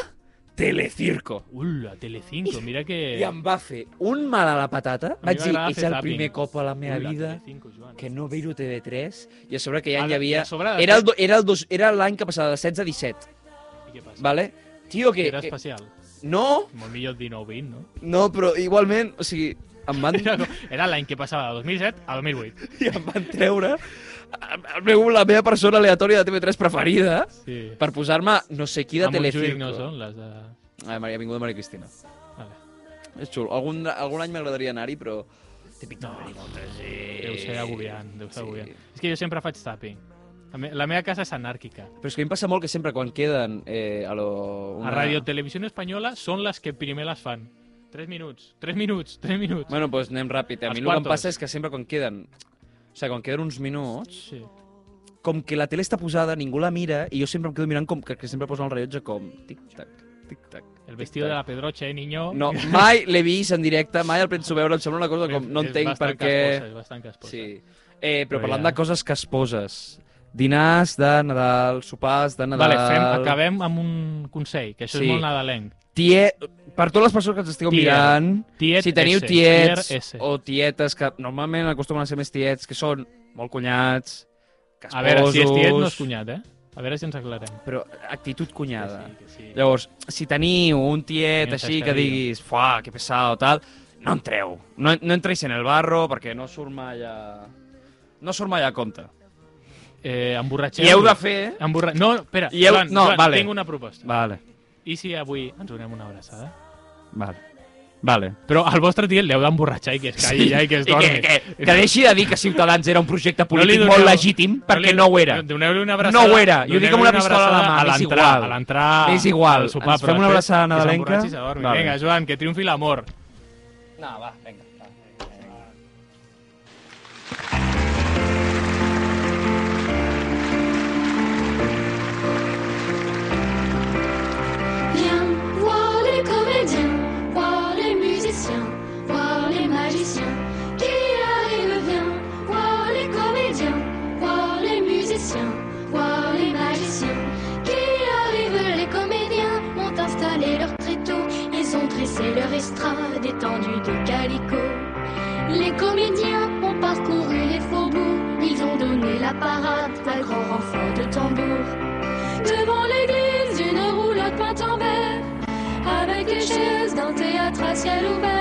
B: Telecirco.
A: Ula, Telecinco, mira que...
B: I em va fer un mal a la patata.
A: mi
B: Vaig dir,
A: m'agrada
B: és
A: fer
B: el
A: zapping.
B: primer cop a la meva
A: Ula,
B: vida
A: Telecinco, Joan.
B: que no veiro TV3 i a sobre que ja
A: Ah,
B: hi havia...
A: a sobre de-
B: Era el do- era el dos- Era l'any que passava de 16 a 17,
A: I què passa?
B: vale? Tio, que...
A: Era
B: que-
A: especial.
B: No,
A: Molt millor 19-20, no?
B: no, però igualment, o sigui, em van...
A: Era, com- era l'any que passava de 2007 a 2008.
B: i em van treure el meu, la meva persona aleatòria de TV3 preferida
A: Sí.
B: per posar-me no sé qui de
A: A Montjuïc
B: Telecinco.
A: no són les de...
B: Ah, Maria, vinguda Maria Cristina.
A: Vale.
B: És xulo. Algun, algun any m'agradaria anar-hi, però... Típic de
A: No,
B: venir molta gent.
A: Deu ser agobiant, deu ser
B: Eh, Sí.
A: agobiant. És que jo sempre faig tapping. La, me la meva casa és anàrquica.
B: Però és que a mi em passa molt que sempre quan queden eh, a, lo,
A: A Radio Televisión Española són les que primer les fan. 3 minuts, 3 minuts, 3 minuts.
B: Bueno, doncs anem ràpid. A
A: Els
B: mi el que em
A: quartos.
B: passa és que sempre quan queden... O sigui, quan queden uns minuts,
A: Sí.
B: com que la tele està posada, ningú la mira, i jo sempre em quedo mirant com que, que sempre posen el rellotge com tic-tac, tic-tac.
A: El vestido de la Pedroche, eh, niño.
B: No, mai l'he vist en directe, mai el penso veure, em sembla una cosa com... No
A: És
B: entenc per
A: bastant
B: què...
A: Casposa, és bastant casposa.
B: Sí. Eh, però
A: Però
B: parlant
A: ja.
B: de coses que es poses, dinars de Nadal, sopars de Nadal...
A: Vale, fem, acabem amb un consell, que això
B: Sí.
A: és molt nadalenc.
B: Tie... Per totes les persones que ens estigueu
A: Tier.
B: mirant,
A: Tiet
B: si teniu
A: S,
B: tiets
A: Tier S.
B: o tietes, que normalment acostumen a ser més tiets, que són molt cunyats, casposos...
A: A veure, si és tiet no és cunyat, eh? A veure si ens aclarem.
B: Però actitud
A: Que
B: cunyada.
A: sí, que sí.
B: Llavors, si teniu un tiet
A: Tenia
B: així que
A: chascarrillo.
B: diguis, fa, que pesado, tal, no entreu. No, no entréis en el barro perquè no surt mai a... No surt mai a compte.
A: Eh, emborratxeu...
B: I heu de fer...
A: Emborra... No, espera,
B: I heu-
A: Joan,
B: no,
A: Joan,
B: vale.
A: tinc una proposta.
B: Vale,
A: I si avui ens donem una abraçada?
B: vale. Vale.
A: Però al vostre tiet l'heu d'emborratxar i que es calli ja i que es dormi.
B: que, que, que deixi de dir que Ciutadans era un projecte
A: No li
B: polític
A: doneu-
B: molt legítim, perquè
A: li-
B: no ho era.
A: Doneu-li una abraçada.
B: No ho era. Jo
A: doneu-li
B: dic amb una pistola a la
A: abraçada
B: mà, m'és
A: l'entrada,
B: igual.
A: A l'entrada...
B: M'és igual.
A: al Sopar,
B: Ens fem una abraçada nadalenca? Vale.
A: Vale. Vinga, Joan, que triomfi l'amor.
B: No, va, vinga. va.
E: Viens voir les comédiens, voir les musiciens, voir les magiciens qui arrivent. Viens voir les comédiens, voir les musiciens, voir les magiciens qui arrivent. Les comédiens ont installé leur tréteau, ils ont dressé leur estrade étendue de calicot. Les comédiens ont parcouru les faubourgs, ils ont donné la parade à grand renfort de tambour. Devant l'église, une roulotte peinte en vert, avec les chaises d'un théâtre à ciel ouvert,